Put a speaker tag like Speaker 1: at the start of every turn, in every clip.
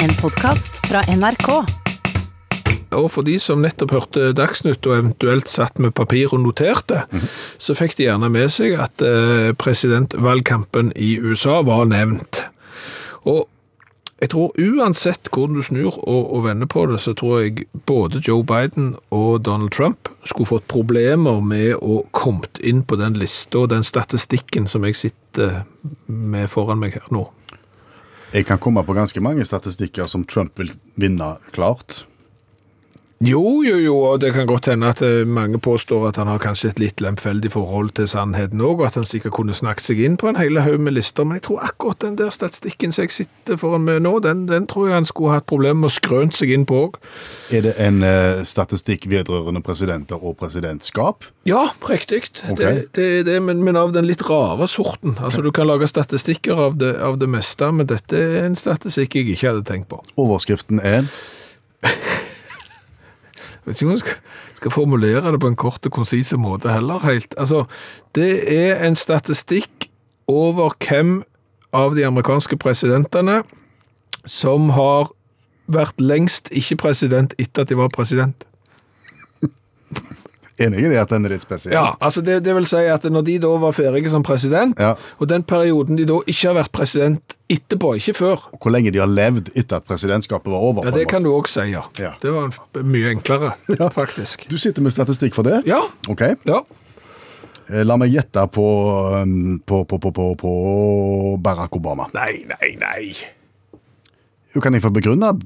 Speaker 1: En podkast fra NRK.
Speaker 2: Og for de som nettopp hørte Dagsnytt og eventuelt satt med papir og noterte, så fikk de gjerne med seg at eh, presidentvalgkampen i USA var nevnt. Og jeg tror uansett hvordan du snur og, og vender på det, så tror jeg både Joe Biden og Donald Trump skulle fått problemer med å kommet inn på den lista og den statistikken som jeg sitter med foran meg her nå.
Speaker 3: Jeg kan komme på ganske mange statistikker som Trump vil vinne klart.
Speaker 2: Jo, jo, jo, og det kan godt hende at eh, mange påstår at han har kanskje et litt lemfeldig forhold til sannheten òg, og at han sikkert kunne snakket seg inn på en hel haug med lister, men jeg tror akkurat den der statistikken som jeg sitter foran med nå, den, den tror jeg han skulle hatt problemer med å skrønt seg inn på òg.
Speaker 3: Er det en eh, statistikk vedrørende presidenter og presidentskap?
Speaker 2: Ja, riktig.
Speaker 3: Ok.
Speaker 2: Det, det er det, men, men av den litt rare sorten. Altså, Du kan lage statistikker av det, av det meste, men dette er en statistikk jeg ikke hadde tenkt på.
Speaker 3: Overskriften er
Speaker 2: Jeg vet ikke om jeg skal, skal formulere det på en kort og konsise måte heller helt. Altså, det er en statistikk over hvem av de amerikanske presidentene som har vært lengst ikke president etter at de var president.
Speaker 3: Enig i det at den er litt spesiell?
Speaker 2: Ja, altså det, det vil si at når de da var ferdige som president,
Speaker 3: Ja.
Speaker 2: og den perioden de da ikke har vært president etterpå, ikke før,
Speaker 3: Og Hvor lenge de har levd etter at presidentskapet var over?
Speaker 2: ja,
Speaker 3: på en
Speaker 2: det kan
Speaker 3: måte.
Speaker 2: du også si, ja.
Speaker 3: Ja.
Speaker 2: Det var en- mye enklere, faktisk.
Speaker 3: du sitter med statistikk for det?
Speaker 2: Ja,
Speaker 3: Ok,
Speaker 2: ja.
Speaker 3: Eh, La meg gjette på, um, på, på, på, på, på Barack Obama.
Speaker 2: Nei, nei, nei.
Speaker 3: Jo, Kan jeg få begrunne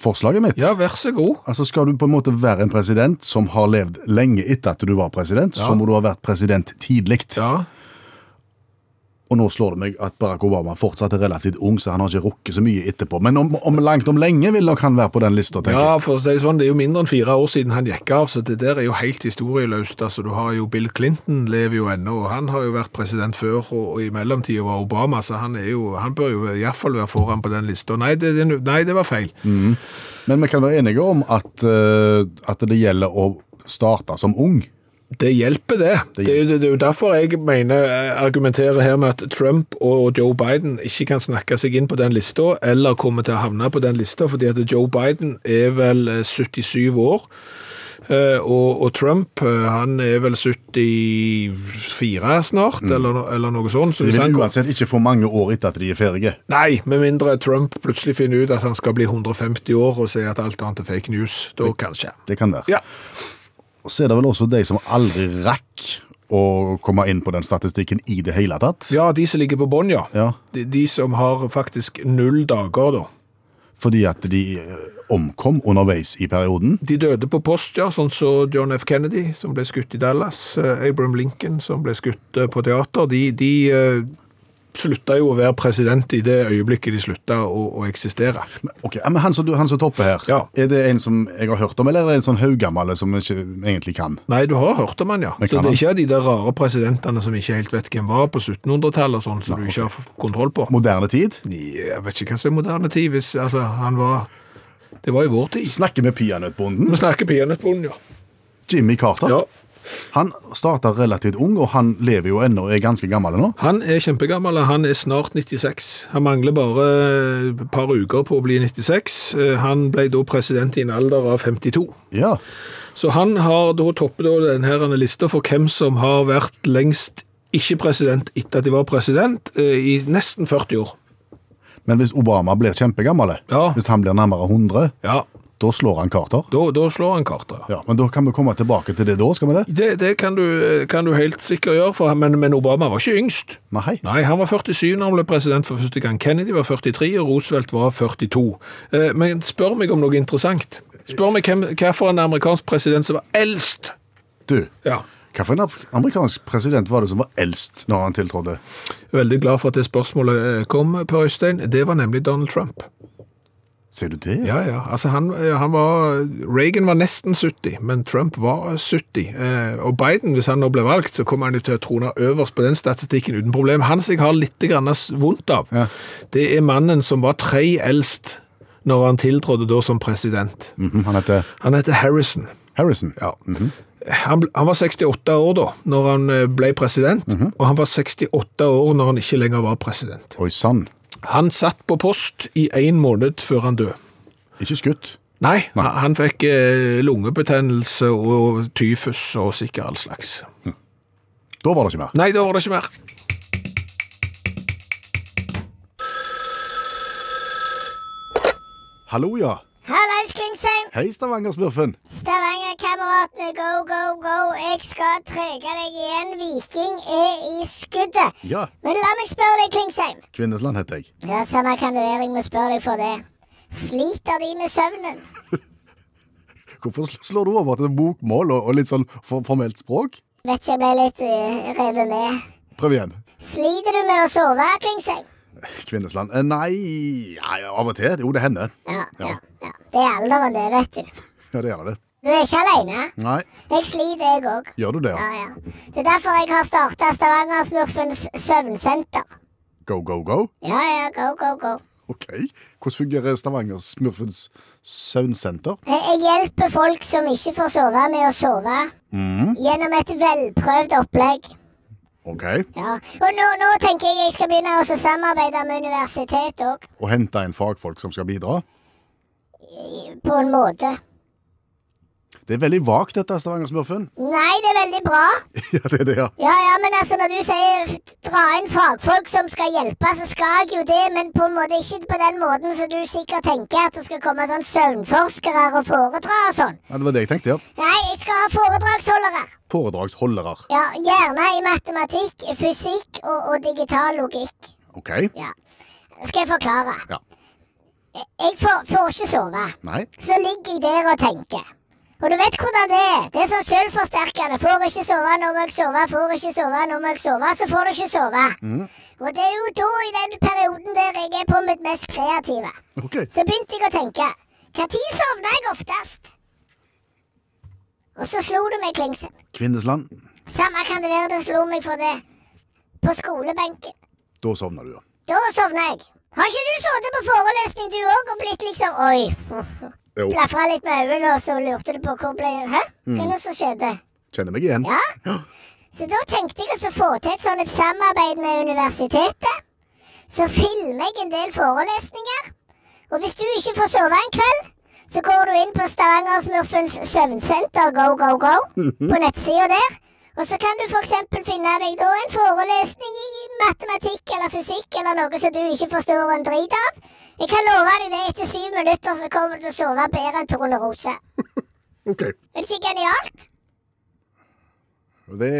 Speaker 3: forslaget mitt?
Speaker 2: Ja, vær så god.
Speaker 3: Altså Skal du på en måte være en president som har levd lenge etter at du var president,
Speaker 2: Ja.
Speaker 3: så må du ha vært president tidlig.
Speaker 2: Ja,
Speaker 3: Og nå slår det meg at Barack Obama fortsatt er relativt ung, så han har ikke rukket så mye etterpå. Men om, om langt om lenge vil nok han være på den lista, tenker jeg.
Speaker 2: Ja, for å si det sånn, det er jo mindre enn fire år siden han gikk av, så det der er jo helt historieløst. Altså, du har jo Bill Clinton lever jo ennå, og han har jo vært president før, og, og i mellomtida var Obama, så han, er jo, han bør jo iallfall være foran på den lista. Nei, det, det, nei, det var feil.
Speaker 3: Men vi kan være enige om at, eh, at det gjelder å starte som ung.
Speaker 2: Det hjelper, det. Det, er jo- det, det er jo derfor jeg mener, eh, argumenterer her med at Trump og Joe Biden ikke kan snakke seg inn på den lista, eller kommer til å havne på den lista, fordi at Joe Biden er vel eh, 77 år, eh, og, og Trump eh, han er vel 74 snart, eller, no- eller noe sånt. Mm. Så
Speaker 3: De
Speaker 2: hvis han
Speaker 3: vil
Speaker 2: går-
Speaker 3: uansett ikke få mange år etter at de er ferdige.
Speaker 2: Nei, med mindre Trump plutselig finner ut at han skal bli 150 år og sier at alt annet er fake news. Da kanskje.
Speaker 3: Det kan være.
Speaker 2: Ja.
Speaker 3: Og så er det vel også de som aldri rakk å komme inn på den statistikken i det hele tatt.
Speaker 2: Ja, de som ligger på bånn, ja.
Speaker 3: Ja.
Speaker 2: De, de som har faktisk null dager, da.
Speaker 3: Fordi at de eh, omkom underveis i perioden.
Speaker 2: De døde på post, ja, sånn som John F. Kennedy, som ble skutt i Dallas, eh, Abraham Lincoln, som ble skutt eh, på teater. De, de eh, slutta jo å være president i det øyeblikket de slutta å, å eksistere.
Speaker 3: Ok, ja, men han som, du- han som topper her,
Speaker 2: Ja.
Speaker 3: er det en som jeg har hørt om, eller er det en sånn haugammel som jeg ikke egentlig kan?
Speaker 2: Nei, du har hørt om han, ja.
Speaker 3: Men
Speaker 2: Så
Speaker 3: kan
Speaker 2: det
Speaker 3: han?
Speaker 2: er ikke de der rare presidentene som ikke helt vet hvem var på 1700-tallet og sånn, som du ikke har f- kontroll på.
Speaker 3: Moderne tid?
Speaker 2: Jeg vet ikke hva som er moderne tid, hvis altså, han var Det var i vår tid.
Speaker 3: Snakker med peanøttbonden.
Speaker 2: Vi snakker peanøttbonden, ja.
Speaker 3: Jimmy Carter.
Speaker 2: ja.
Speaker 3: Han starta relativt ung, og han lever jo ennå og er ganske gammel nå.
Speaker 2: Han er kjempegammel, han er snart 96. Han mangler bare eh, et par uker på å bli 96. Eh, Han ble da president i en alder av 52.
Speaker 3: Ja.
Speaker 2: Så han har da toppet da denne lista for hvem som har vært lengst ikke president etter at de var president, eh, i nesten 40 år.
Speaker 3: Men hvis Obama blir kjempegammel,
Speaker 2: Ja.
Speaker 3: hvis han blir nærmere 100,
Speaker 2: Ja,
Speaker 3: da slår han Carter.
Speaker 2: da, da slår han kartet.
Speaker 3: Ja, Men da kan vi komme tilbake til det da, skal vi det?
Speaker 2: Det, det kan, du, eh, kan du helt sikkert gjøre, for, men, men Obama var ikke yngst.
Speaker 3: Nei.
Speaker 2: Nei, han var 47 når han ble president for første gang. Kennedy var 43, og Roosevelt var 42. Eh, Men spør meg om noe interessant. Spør meg hvem, hvorfor en amerikansk president som var eldst.
Speaker 3: Du,
Speaker 2: Ja,
Speaker 3: hvilken amerikansk president var det som var eldst når han tiltrådte?
Speaker 2: veldig glad for at det spørsmålet eh, kom, Per Øystein. Det var nemlig Donald Trump.
Speaker 3: Ser du det?
Speaker 2: Ja, ja, altså han, eh, han var, Reagan var nesten 70, men Trump var 70. Eh, Og Biden, hvis han nå ble valgt, så kommer han jo til å trone øverst på den statistikken uten problem. Han som jeg har litt grann vondt av,
Speaker 3: Ja.
Speaker 2: det er mannen som var tre eldst når han tiltrådte da som president.
Speaker 3: Mhm, han heter
Speaker 2: Han heter Harrison.
Speaker 3: Harrison.
Speaker 2: han, bl- han var 68 år da, når han eh, ble president, og han var 68 år når han ikke lenger var president.
Speaker 3: Oi sann.
Speaker 2: Han satt på post i en måned før han døde.
Speaker 3: Ikke skutt.
Speaker 2: Nei, han- han fikk eh, lungebetennelse og tyfus og sikkert all slags.
Speaker 3: Da var det ikke mer.
Speaker 2: Nei, da var det ikke mer.
Speaker 3: Hallo, ja.
Speaker 4: Hallais, Klingsheim.
Speaker 3: Hei, Stavanger-smurfen.
Speaker 4: Stavanger-kameratene, go, go, go. Jeg skal trege deg igjen. Viking er i skuddet.
Speaker 3: Ja.
Speaker 4: Men la meg spørre deg, Klingsheim.
Speaker 3: Kvinnesland heter jeg.
Speaker 4: Ja, Samme kan det være, jeg må spørre deg for det. Sliter de med søvnen?
Speaker 3: Hvorfor sl- slår du over til bokmål og, og litt sånn for, formelt språk?
Speaker 4: Vet ikke, jeg ble litt eh, revet med.
Speaker 3: Prøv igjen.
Speaker 4: Sliter du med å sove, Klingsheim?
Speaker 3: Kvinnesland. Eh, Nei, nei av og til. Jo, det hender.
Speaker 4: Ja, ja, ja. Det er alderen, det, vet du.
Speaker 3: Ja, det gjelder det.
Speaker 4: Du er ikke aleine.
Speaker 3: Nei,
Speaker 4: Jeg sliter, jeg òg.
Speaker 3: gjør du det?
Speaker 4: Ja,
Speaker 3: ja?
Speaker 4: ja. Det er derfor jeg har starta Stavanger-smurfens søvnsenter.
Speaker 3: Go, go, go?
Speaker 4: Ja, ja, go, go, go.
Speaker 3: Ok. Hvordan fungerer Stavanger-smurfens søvnsenter?
Speaker 4: Jeg Eh, jeg hjelper folk som ikke får sove, med å sove. Gjennom et velprøvd opplegg.
Speaker 3: Ok.
Speaker 4: Ja. Og nå, nå tenker jeg jeg skal begynne å samarbeide med universitetet òg.
Speaker 3: Og hente inn fagfolk som skal bidra?
Speaker 4: På en måte.
Speaker 3: Det er veldig vagt, dette, Stavanger-smurfen.
Speaker 4: Nei, det er veldig bra.
Speaker 3: ja, det er det, ja.
Speaker 4: Ja, ja, men altså når du sier f- dra inn fagfolk som skal hjelpe, så skal jeg jo det, men på en måte ikke på den måten som du sikkert tenker at det skal komme sånn søvnforskere og foredra og sånn.
Speaker 3: ja. Det var det jeg tenkte, ja.
Speaker 4: Nei, jeg skal ha foredragsholdere.
Speaker 3: Foredragsholdere.
Speaker 4: Ja, gjerne i matematikk, fysikk og, og digital logikk.
Speaker 3: Ok.
Speaker 4: Ja. Skal jeg forklare?
Speaker 3: Ja.
Speaker 4: Jeg får, får ikke sove.
Speaker 3: Nei.
Speaker 4: Så ligger jeg der og tenker. Og du vet hvordan det er. Det er sånn selvforsterkende. Får ikke sove, nå må jeg sove. Får ikke sove, nå må jeg sove. Så får du ikke sove. Og det er jo da, i den perioden der jeg er på mitt mest kreative,
Speaker 3: Ok.
Speaker 4: så begynte jeg å tenke. Når sovna jeg oftest? Og så slo det meg klingsen.
Speaker 3: Kvinnesland.
Speaker 4: Samme kan det være det slo meg for det. På skolebenken.
Speaker 3: Da sovner du, ja.
Speaker 4: Da sovna jeg. Har ikke du sittet på forelesning du òg og blitt liksom Oi.
Speaker 3: Jo.
Speaker 4: Blafra litt med øynene, og så lurte du på hvor ble Hæ? Hva er det som skjedde?
Speaker 3: Kjenner meg igjen.
Speaker 4: Ja? Så da tenkte jeg altså å få til et sånt et samarbeid med universitetet. Så filmer jeg en del forelesninger. Og hvis du ikke får sove en kveld, så går du inn på Stavangersmurfens søvnsenter go, go, go på nettsida der. Og så kan du f.eks. finne deg da en forelesning i matematikk eller fysikk eller noe som du ikke forstår en drit av. Jeg kan love deg det, etter syv minutter så kommer du til å sove bedre enn Torne Rose.
Speaker 3: Ok.
Speaker 4: Er det ikke genialt?
Speaker 3: Og det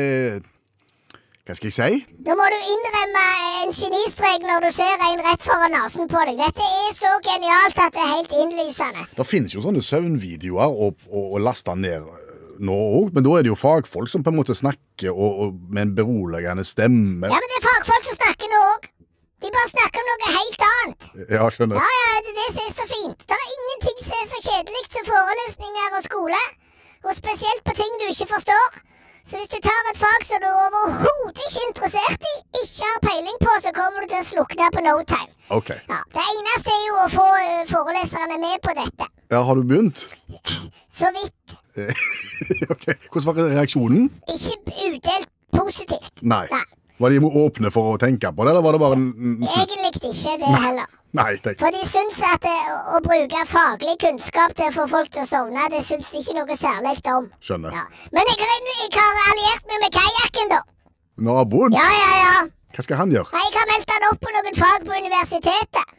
Speaker 3: Hva skal jeg si?
Speaker 4: Nå må du innrømme en genistrek når du ser en rett foran nesen på deg. Dette er så genialt at det er helt innlysende.
Speaker 3: Det finnes jo sånne søvnvideoer å, å, å laste ned eh, nå òg, men da er det jo fagfolk som på en måte snakker og, og, med en beroligende stemme.
Speaker 4: Ja, men det er fagfolk som snakker nå òg. De bare snakker om noe helt annet.
Speaker 3: Ja, skjønner.
Speaker 4: Ja, ja, det er det som er så fint. Det er ingenting som er så kjedelig som forelesninger og skole. Og spesielt på ting du ikke forstår. Så hvis du tar et fag som du overhodet ikke er interessert i, ikke har peiling på, så kommer du til å slukne på no time.
Speaker 3: Ok.
Speaker 4: Ja, Det eneste er jo å få ø, foreleserne med på dette.
Speaker 3: Ja, har du begynt?
Speaker 4: Så vidt.
Speaker 3: ok. Hvordan var reaksjonen?
Speaker 4: ikke udelt positivt.
Speaker 3: Nei.
Speaker 4: Nei.
Speaker 3: Var de åpne for å tenke på det, eller var det bare en, en snu-
Speaker 4: Egentlig ikke det heller.
Speaker 3: Nei, tenk.
Speaker 4: For de syns at det, å, å bruke faglig kunnskap til å få folk til å sovne, det syns de ikke noe særlig om.
Speaker 3: Skjønner.
Speaker 4: Ja. Men jeg, har- jeg har alliert meg med kajakken, da.
Speaker 3: Naboen?
Speaker 4: Ja, ja, ja.
Speaker 3: Hva skal han gjøre?
Speaker 4: Nei, Jeg har meldt han opp på noen fag på universitetet.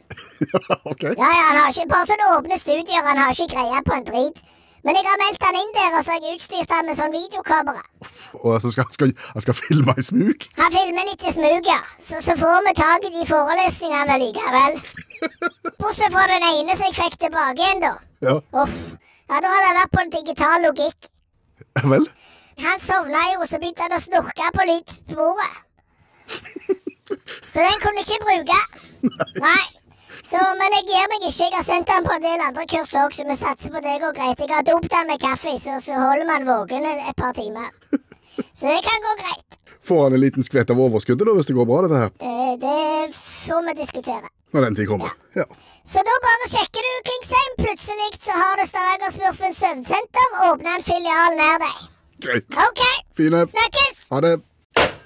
Speaker 3: ok.
Speaker 4: Ja, ja, han har ikke bare sånne åpne studier, han har ikke greie på en drit. Men jeg har meldt han inn der, og så har jeg utstyrt han med sånn videokamera.
Speaker 3: Og så skal han skal, han skal filme i smug?
Speaker 4: Han filmer litt i smug, ja. Så, så får vi tak i de forelesningene likevel. Bortsett fra den ene som jeg fikk tilbake igjen, da.
Speaker 3: Ja.
Speaker 4: Uff. Ja, da hadde han vært på en digital logikk.
Speaker 3: Vel?
Speaker 4: Han sovna jo, så begynte han å snorke på lydsporet. Så den kunne jeg ikke bruke. Nei. Så, men jeg gir meg ikke. Jeg har sendt han på en del andre kurs òg, så vi satser på det går greit. Jeg har dopt han med kaffe, så, så holder man våken et par timer. Så det kan gå greit.
Speaker 3: Får han en liten skvett av overskuddet da, hvis det går bra, dette her?
Speaker 4: Eh, Det får vi diskutere.
Speaker 3: Når den tid kommer. Ja.
Speaker 4: Så da bare sjekker du Klingsheim. Plutselig så har du Stavangersmurfens søvnsenter. Åpna en filial nær deg.
Speaker 3: Greit.
Speaker 4: OK,
Speaker 3: Fine.
Speaker 4: snakkes!
Speaker 3: Ha det.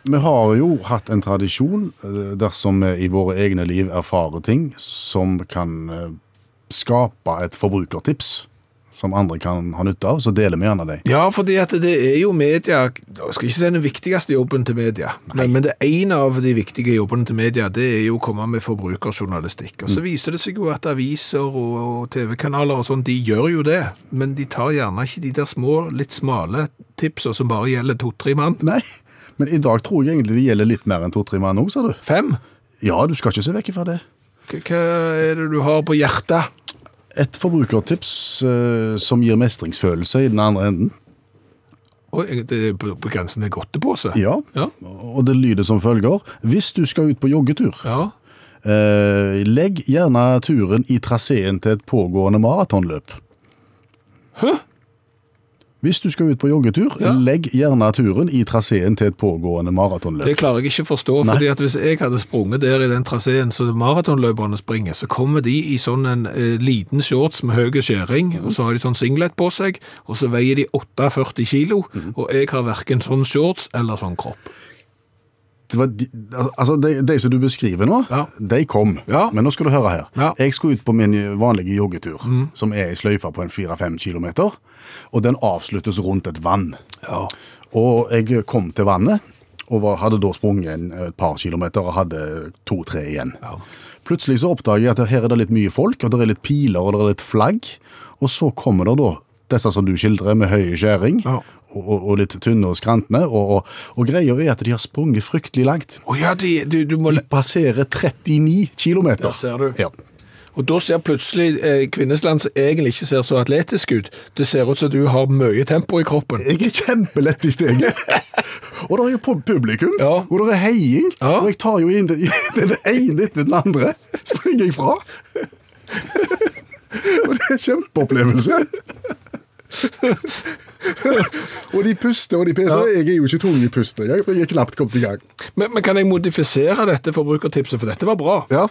Speaker 3: Vi har jo hatt en tradisjon eh, dersom vi i våre egne liv erfarer ting som kan eh, skape et forbrukertips som andre kan ha nytte av, så deler vi gjerne dem.
Speaker 2: Ja, fordi at det er jo media Jeg skal ikke si den viktigste jobben til media, men, men det er en av de viktige jobbene til media, det er jo å komme med forbrukerjournalistikk. Og så viser det seg jo at aviser og, og TV-kanaler og sånn, de gjør jo det, men de tar gjerne ikke de der små, litt smale tipsene som bare gjelder to-tre mann.
Speaker 3: Nei, men i dag tror jeg egentlig det gjelder litt mer enn to-tre mann òg, sa du.
Speaker 2: Fem?
Speaker 3: Ja, du skal ikke se vekk fra det.
Speaker 2: Hva hva er det du har på hjertet?
Speaker 3: Et forbrukertips eh, som gir mestringsfølelse i den andre enden.
Speaker 2: Oi, det er på, på grensen til godtepose?
Speaker 3: Ja,
Speaker 2: Ja.
Speaker 3: og det lyder som følger. Hvis du skal ut på joggetur,
Speaker 2: Ja.
Speaker 3: eh, legg gjerne turen i traseen til et pågående maratonløp.
Speaker 2: Hæ?
Speaker 3: Hvis du skal ut på joggetur,
Speaker 2: Ja.
Speaker 3: legg gjerne turen i traseen til et pågående
Speaker 2: Det
Speaker 3: maratonløp.
Speaker 2: klarer jeg ikke å forstå, fordi at hvis jeg hadde sprunget der i den traseen som maratonløperne springer, så kommer de i sånn en eh, liten shorts med høy skjæring, og så har de sånn singlet på seg, og så veier de 48 kilo, og jeg har hverken sånn shorts eller sånn kropp.
Speaker 3: Det var de, altså, de, de som du beskriver nå,
Speaker 2: Ja.
Speaker 3: de kom.
Speaker 2: Ja.
Speaker 3: Men nå skal du høre her.
Speaker 2: Ja. Mm.
Speaker 3: Jeg skulle ut på min vanlige joggetur, som er i sløyfa på en 4-5 kilometer, og den avsluttes rundt et vann.
Speaker 2: Ja.
Speaker 3: Og jeg kom til vannet, og var, hadde da sprunget en, et par kilometer og hadde to-tre igjen.
Speaker 2: Ja.
Speaker 3: Plutselig så oppdager jeg at her er det litt mye folk, og det er litt piler og det er litt flagg. Og så kommer det da disse som du skildrer med høye skjæring,
Speaker 2: Ja.
Speaker 3: og, og, og litt tynne og skrantende. Og, og, og greia er at de har sprunget fryktelig langt.
Speaker 2: Å ja, de, du, du må...
Speaker 3: De passerer 39 kilometer.
Speaker 2: Der ser du.
Speaker 3: Ja.
Speaker 2: Og da ser plutselig eh, kvinnesland som egentlig ikke ser så atletisk ut. Det ser ut som du har mye tempo i kroppen.
Speaker 3: Jeg er kjempelett i steget. og det er jo pub- publikum,
Speaker 2: Ja.
Speaker 3: og det er heiing.
Speaker 2: Ja.
Speaker 3: Og jeg tar jo inn den, den ene etter den andre. Springer jeg fra. og det er en kjempeopplevelse. og de puster og de
Speaker 2: Ja.
Speaker 3: peser. Jeg er jo ikke tung i pustet. Jeg, jeg er knapt kommet i gang.
Speaker 2: Men, men kan jeg modifisere dette forbrukertipset, for dette var bra.
Speaker 3: Ja.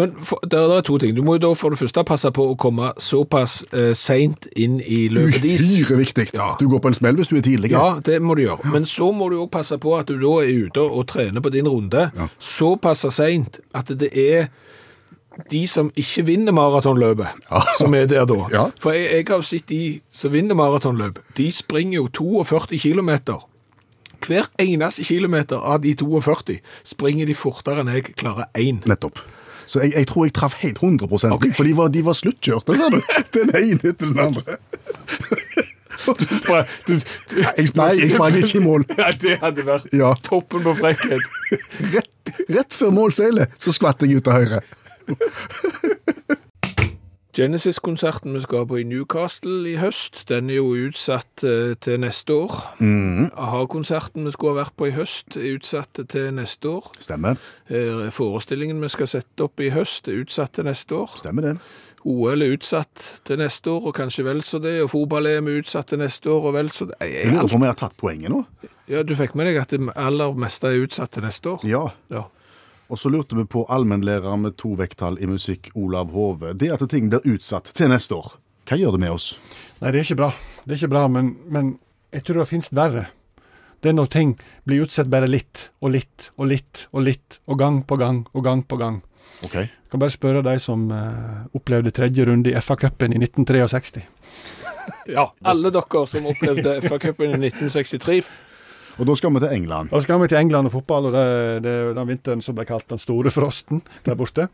Speaker 2: Men for, der, der er to ting. Du må jo da for det første passe på å komme såpass eh, seint inn i løpet dis.
Speaker 3: Uhyre viktig.
Speaker 2: Ja.
Speaker 3: Du går på en smell hvis du er tidlig.
Speaker 2: Ja, det må du gjøre. Men så må du òg passe på at du da er ute og trener på din runde
Speaker 3: Ja.
Speaker 2: såpass seint at det er de som ikke vinner maratonløpet,
Speaker 3: Ja.
Speaker 2: som er der da.
Speaker 3: Ja.
Speaker 2: For jeg, jeg har jo sett de som vinner maratonløp. De springer jo 42 km. Hver eneste kilometer av de 42 springer de fortere enn jeg klarer én.
Speaker 3: Nettopp. Så jeg, jeg tror jeg traff helt 100
Speaker 2: Ok.
Speaker 3: for de var, de var sluttkjørte, sa du. Den ene etter den andre. Jeg sprang, jeg sprang ikke i mål.
Speaker 2: Ja, det hadde vært
Speaker 3: Ja.
Speaker 2: toppen på frekkhet.
Speaker 3: Rett, rett før målseilet så skvatt jeg ut til høyre.
Speaker 2: Genesis-konserten vi skal på i Newcastle i høst, den er jo utsatt eh, til neste år. A-ha-konserten vi skulle ha vært på i høst, er utsatt til neste år.
Speaker 3: Stemmer.
Speaker 2: Eh, Forestillingen vi skal sette opp i høst, er utsatt til neste år.
Speaker 3: Stemmer det.
Speaker 2: OL er utsatt til neste år, og kanskje vel så det. Og fotball-EM er utsatt til neste år, og vel så det.
Speaker 3: Jeg
Speaker 2: Jeg,
Speaker 3: lurer på om jeg har tatt poenget nå.
Speaker 2: ja, du fikk med deg at det aller meste er utsatt til neste år?
Speaker 3: Ja.
Speaker 2: ja.
Speaker 3: Og så lurte vi på allmennlærer med to vekttall i musikk, Olav Hove. Det at ting blir utsatt til neste år, hva gjør det med oss?
Speaker 5: Nei, det er ikke bra. Det er ikke bra, men, men jeg tror det finnes verre. Det er når ting blir utsatt bare litt, og litt, og litt, og litt, og gang på gang, og gang på gang.
Speaker 3: Ok.
Speaker 5: Jeg kan bare spørre de som eh, opplevde tredje runde i FA-cupen i 1963.
Speaker 2: Ja, alle dere som opplevde FA-cupen i 1963.
Speaker 3: Og da skal vi til England.
Speaker 5: Da skal vi til England og fotball, og det, det er jo den vinteren som ble kalt den store frosten der borte.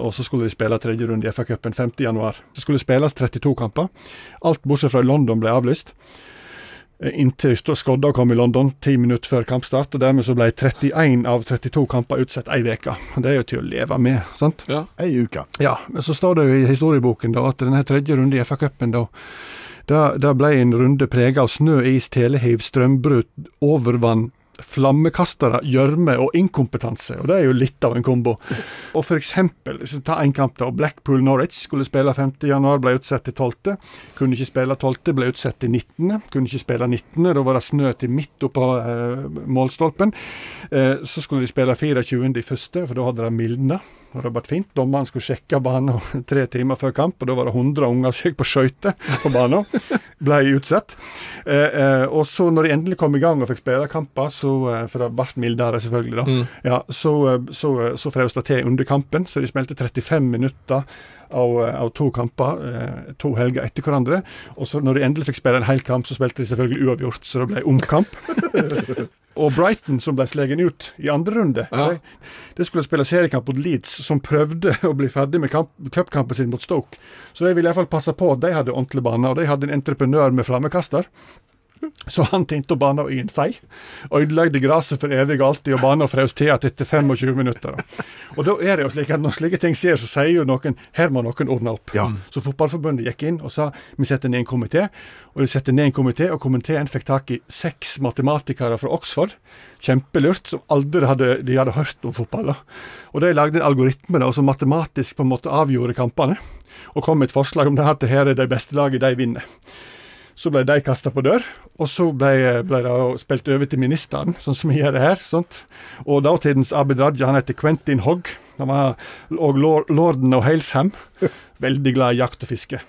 Speaker 5: Og så skulle de spille tredje runde i FA-cupen 5.1. Det skulle spilles 32 kamper. Alt bortsett fra i London ble avlyst. Eh, Inntil Sto- Skodda kom i London ti minutter før kampstart, og dermed så ble 31 av 32 kamper utsatt ei uke. Det er jo til å leve med, sant?
Speaker 2: Ja.
Speaker 3: Ei uke.
Speaker 5: Ja, men så står det jo i historieboken da at denne tredje runde i FA-cupen da da, da ble en runde prega av snø, is, telehiv, strømbrudd, overvann, flammekastere, gjørme og inkompetanse. Og det er jo litt av en kombo. Og for eksempel, hvis vi tar en kamp da, Blackpool-Norwich skulle spille 5.1, ble utsatt til 12. Kunne ikke spille 12., ble utsatt til 19. Kunne ikke spille 19., da var det snø til midt oppå eh, målstolpen. Eh, så skulle de spille 24. i første, for da hadde det mildna. Og det var fint. Dommeren skulle sjekke banen tre timer før kamp, og da var det 100 unger som gikk på skøyter på banen. ble utsatt. Eh, eh, og så når de endelig kom i gang og fikk spille kamper, så, eh, for det ble mildere selvfølgelig, da, ja, så, eh, så, eh, så frøs det til under kampen. Så de spilte 35 minutter av, eh, av to kamper, eh, to helger etter hverandre. Og så når de endelig fikk spille en hel kamp, så spilte de selvfølgelig uavgjort, så det ble omkamp. Og Brighton, som ble slegen ut i andre runde,
Speaker 2: Ja.
Speaker 5: de, de skulle spille seriekamp mot Leeds, som prøvde å bli ferdig med kamp- cupkampen sin mot Stoke. Så de ville iallfall passe på at de hadde ordentlig bane, og de hadde en entreprenør med flammekaster. Så han tinte banen i en fei, og ødelagte gresset for evig og alltid, og banen frøs til igjen etter 25 minutter. Da. Og da er det jo slik at når slike ting skjer, så sier jo noen her må noen ordne opp.
Speaker 3: Ja.
Speaker 5: Så Fotballforbundet gikk inn og sa vi setter ned en komité. Og de setter ned en komité, og komiteen fikk tak i seks matematikere fra Oxford. Kjempelurt, som aldri hadde, de hadde hørt om fotball. da. Og de lagde en algoritme da, som matematisk på en måte avgjorde kampene. Og kom med et forslag om det at det her er de beste laget, de vinner. Så ble de kasta på dør, og så ble, ble det jo spilt over til ministeren, sånn som vi gjør det her. sant? Og datidens Abid Raja, han heter Quentin Hogg. Han var og lor- lorden av Halesham. Veldig glad i jakt og fiske.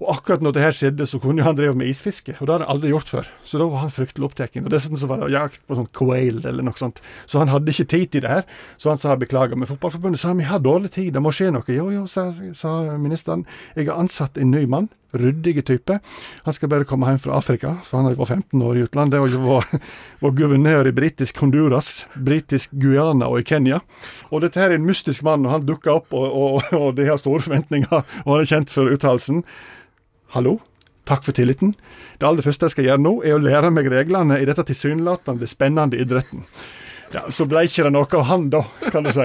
Speaker 5: Og akkurat når det her skjedde, så kunne jo han drive med isfiske, og det har han aldri gjort før. Så da var han fryktelig opptatt. Og dessuten så var det jakt på sånn quail eller noe sånt, så han hadde ikke tid til det her. Så han sa beklager, men Fotballforbundet sa vi har dårlig tid, det må skje noe. Jo jo, sa, sa ministeren, jeg har ansatt en ny mann, ryddige type. Han skal bare komme hjem fra Afrika, for han har jo vært 15 år i utlandet og var, var guvernør i britisk Honduras, britisk Guyana og i Kenya. Og dette her er en mystisk mann, og han dukker opp, og, og, og de har store forventninger, og han er kjent for uttalelsen. Hallo, takk for tilliten. Det aller første jeg skal gjøre nå, er å lære meg reglene i dette tilsynelatende spennende idretten. Ja, Så ble ikke det noe av han, da, kan du si.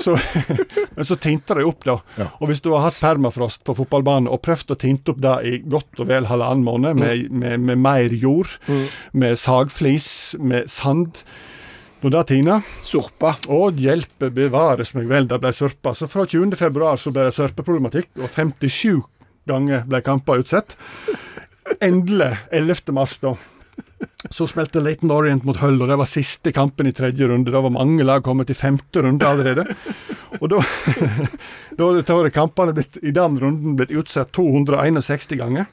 Speaker 5: Så, men så tinte det opp, da. Og hvis du har hatt permafrost på fotballbanen og prøvd å tinte opp det i godt og vel halvannen måned, med, med, med mer jord, med sagflis, med sand Når det tiner
Speaker 2: Sorpa.
Speaker 5: å, hjelpe bevares meg vel, det ble sørpa. Så fra 20. februar så ble det sørpeproblematikk, og 57 ganger ble kamper utsatt. Endelig, 11. mars, da. Så spilte Laton Orient mot Hull, og det var siste kampen i tredje runde. Da var mange lag kommet i femte runde allerede. Og da, da hadde kampene blitt, i den runden blitt utsatt 261 ganger.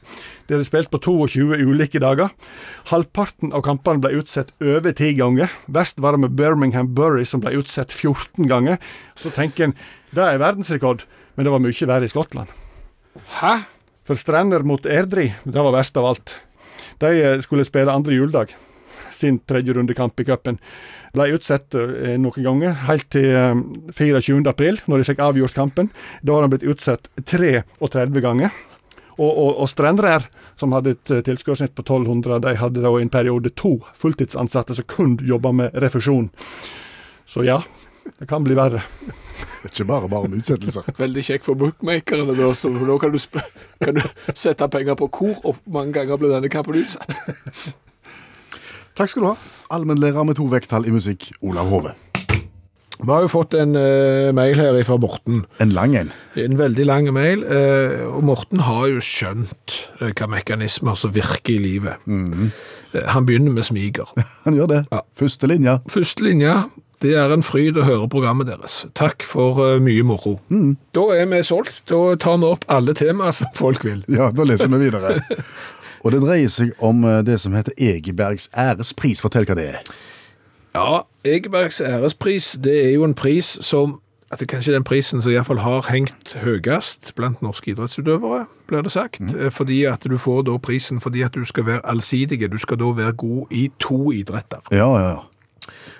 Speaker 5: De hadde spilt på 22 ulike dager. Halvparten av kampene ble utsatt over ti ganger. Verst var det med Birmingham Bury, som ble utsatt 14 ganger. Så tenker en det er verdensrekord, men det var mye verre i Skottland.
Speaker 2: Hæ?
Speaker 5: For Strander mot Erdri, det var verst av alt. De eh, skulle spille andre juledag, sin tredje rundekamp i cupen. Ble utsatt eh, noen ganger, helt til eh, 24. april, når de fikk avgjort kampen. Da har han blitt utsatt 33 ganger. Og, og, og Strandre her, som hadde et eh, tilskuddssnitt på 1200, de hadde da i en periode to fulltidsansatte som kun jobba med refusjon. Så ja, det kan bli verre.
Speaker 3: Det er ikke bare bare om utsettelser.
Speaker 2: Veldig kjekk for bookmakerne, da. Så nå kan du, sp- kan du sette penger på hvor og mange ganger ble denne kampen utsatt.
Speaker 3: Takk skal du ha. Allmennlærer med to vekttall i musikk, Olav Hove.
Speaker 2: Vi har jo fått en eh, mail her fra Morten.
Speaker 3: En lang en.
Speaker 2: En veldig lang mail. eh, og Morten har jo skjønt eh, hva mekanismer som virker i livet. Eh, han begynner med smiger.
Speaker 3: Han gjør det. Første linja.
Speaker 2: Første linja. Det er en fryd å høre programmet deres. Takk for eh, mye moro. Da er vi solgt. Da tar vi opp alle temaer som folk vil.
Speaker 3: Ja, da leser vi videre. Og det dreier seg om eh, det som heter Egebergs ærespris. Fortell hva det er.
Speaker 2: Ja, Egebergs ærespris, det er jo en pris som at det kanskje er den prisen som iallfall har hengt høyest blant norske idrettsutøvere, blir det sagt. Eh, Fordi at du får da prisen fordi at du skal være allsidig. Du skal da være god i to idretter.
Speaker 3: Ja, ja, ja.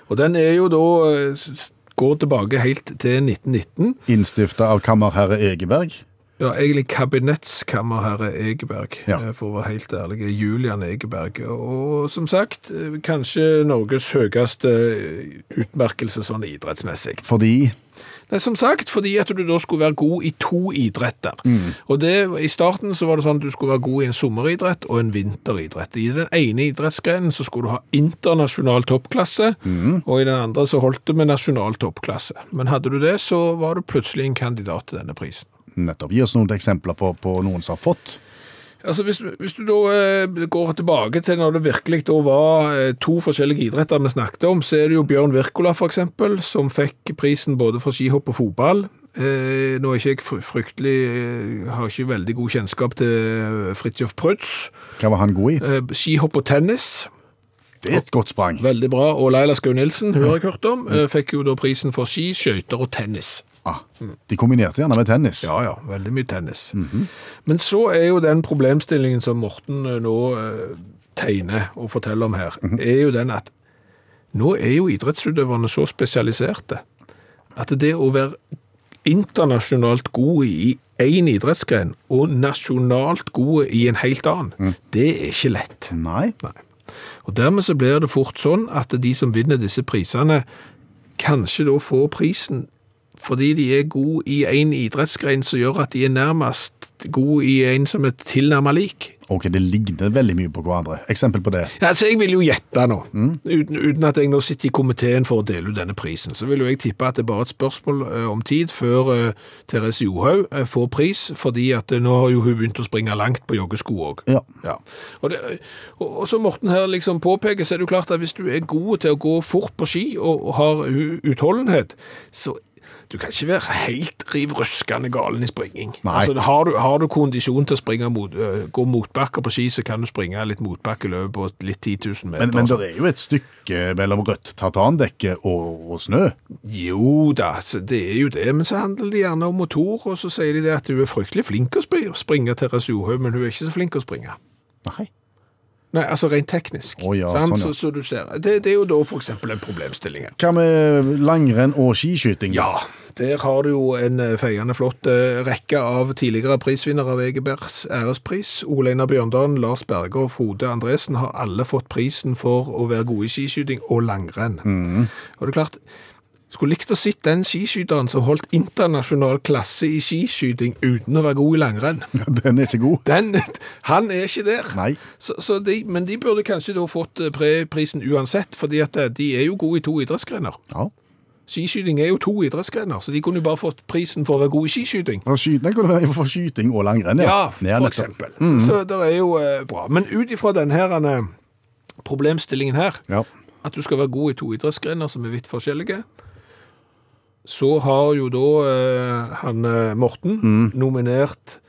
Speaker 2: Og den er jo da eh, s- går tilbake helt til 1919.
Speaker 3: Innstifta av kammerherre Egeberg.
Speaker 2: Ja, egentlig kabinettskammerherre Egeberg,
Speaker 3: Ja.
Speaker 2: eh, for å være helt ærlig. Julian Egeberg. Og som sagt, eh, kanskje Norges høyeste eh, utmerkelse sånn idrettsmessig.
Speaker 3: Fordi
Speaker 2: Nei, som sagt, fordi at du da skulle være god i to idretter. Og det, I starten så var det sånn at du skulle være god i en sommeridrett og en vinteridrett. I den ene idrettsgrenen så skulle du ha internasjonal toppklasse, og i den andre så holdt det med nasjonal toppklasse. Men hadde du det, så var du plutselig en kandidat til denne prisen.
Speaker 3: Nettopp. Gi oss noen eksempler på, på noen som har fått.
Speaker 2: Altså hvis, hvis du da eh, går tilbake til når det virkelig da var eh, to forskjellige idretter vi snakket om, så er det jo Bjørn Wirkola for eksempel, som fikk prisen både for skihopp og fotball.
Speaker 6: Eh, nå er ikke jeg fr- fryktelig eh, Har ikke veldig god kjennskap til eh, Fridtjof Prøtz.
Speaker 3: Hva var han god i?
Speaker 6: Eh, skihopp og tennis,
Speaker 3: Det er et godt sprang.
Speaker 6: veldig bra. Og Laila Skau Nilsen, hun har jeg hørt om, eh, fikk jo da prisen for ski, skøyter og tennis.
Speaker 3: Ah, de kombinerte gjerne med tennis.
Speaker 6: Ja, ja, veldig mye tennis. Men så er jo den problemstillingen som Morten eh, nå eh, tegner og forteller om her, er jo den at nå er jo idrettsutøverne så spesialiserte at det å være internasjonalt god i én idrettsgren og nasjonalt god i en helt annen, det er ikke lett.
Speaker 3: Nei.
Speaker 6: Og dermed så blir det fort sånn at de som vinner disse prisene, kanskje da får prisen fordi de er gode i en idrettsgren som gjør at de er nærmest gode i en som er tilnærmet lik.
Speaker 3: Ok, det ligner veldig mye på hverandre. Eksempel på det.
Speaker 6: Ja, Altså, jeg vil jo gjette nå, uten, uten at jeg nå sitter i komiteen for å dele ut denne prisen, så vil jo jeg tippe at det er bare et spørsmål eh, om tid før eh, Therese Johaug eh, får pris, fordi at eh, nå har jo hun begynt å springe langt på joggesko òg.
Speaker 3: Ja.
Speaker 6: Ja. Og, det, og, og som Morten her liksom påpeker, så er det jo klart at hvis du er god til å gå fort på ski og, og har u- utholdenhet, så du kan ikke være helt riv ruskende galen i springing.
Speaker 3: Nei.
Speaker 6: Altså, har, du, har du kondisjon til å springe mot, øh, gå motbakker på ski, så kan du springe litt motbakkeløp på litt 10 000 meter. Altså,
Speaker 3: Men, men det er jo et stykke mellom rødt tartandekke og, og snø.
Speaker 6: Jo da, så det er jo det, men så handler det gjerne om motor, og så sier de det at hun er fryktelig flink å spri- springe, Therese Johaug, men hun er ikke så flink å springe.
Speaker 3: Nei.
Speaker 6: Nei, altså rent teknisk.
Speaker 3: Å ja,
Speaker 6: sant?
Speaker 3: sånn, ja.
Speaker 6: Så, så du ser. Det, det er jo da for eksempel en problemstilling her.
Speaker 3: Hva med langrenn og skiskyting?
Speaker 6: Ja, der har du jo en eh, feiende flott eh, rekke av tidligere prisvinnere av Egebergs ærespris. Ole Einar Bjørndalen, Lars Berge og Frode Andresen har alle fått prisen for å være gode i skiskyting og langrenn. Og det er klart, skulle likt å sitte den skiskyteren som holdt internasjonal klasse i skiskyting uten å være god i langrenn.
Speaker 3: Den er ikke god.
Speaker 6: Den, han er ikke der.
Speaker 3: Nei.
Speaker 6: Så, så de, men de burde kanskje da fått eh, pre- prisen uansett, fordi at eh, de er jo gode i to idrettsgrener.
Speaker 3: Ja.
Speaker 6: Skiskyting er jo to idrettsgrener, så de kunne jo bare fått prisen for å være god i skiskyting.
Speaker 3: For skyting kunne være for skyting og langrenn,
Speaker 6: Ja, for
Speaker 3: nettopp.
Speaker 6: eksempel. Så, så det er jo eh, bra. Men ut ifra denne problemstillingen her,
Speaker 3: Ja.
Speaker 6: at du skal være god i to idrettsgrener som er vidt forskjellige, så har jo da eh, han eh, Morten nominert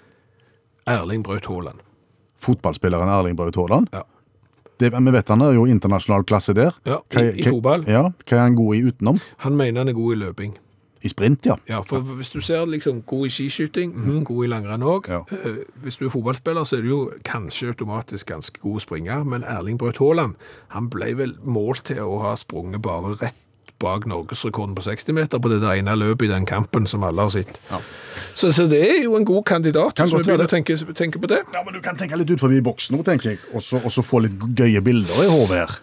Speaker 6: Erling Braut Haaland.
Speaker 3: Fotballspilleren Erling Braut Haaland.
Speaker 6: Ja.
Speaker 3: Det- Vi vet han er jo internasjonal klasse der.
Speaker 6: Ja,
Speaker 3: Hva-
Speaker 6: i- i
Speaker 3: hva-
Speaker 6: fotball.
Speaker 3: Ja, Hva er han god i utenom?
Speaker 6: Han mener han er god i løping.
Speaker 3: I sprint, ja.
Speaker 6: Ja, for hvis du ser liksom god i skiskyting, mhm, god i langrenn òg.
Speaker 3: Ja.
Speaker 6: Hvis du er fotballspiller, så er du jo kanskje automatisk ganske god springer, men Erling Braut Haaland han ble vel målt til å ha sprunget bare rett bak norgesrekorden på 60 meter på det der ene løpet i den kampen som alle har sett. Så, så det er jo en god kandidat,
Speaker 3: Kan
Speaker 6: hvis vi
Speaker 3: godt være
Speaker 6: begynner å tenke, tenke på det.
Speaker 3: Ja, men Du kan tenke litt ut forbi boksen nå, tenker jeg, og så, og så få litt gøye bilder i hodet her.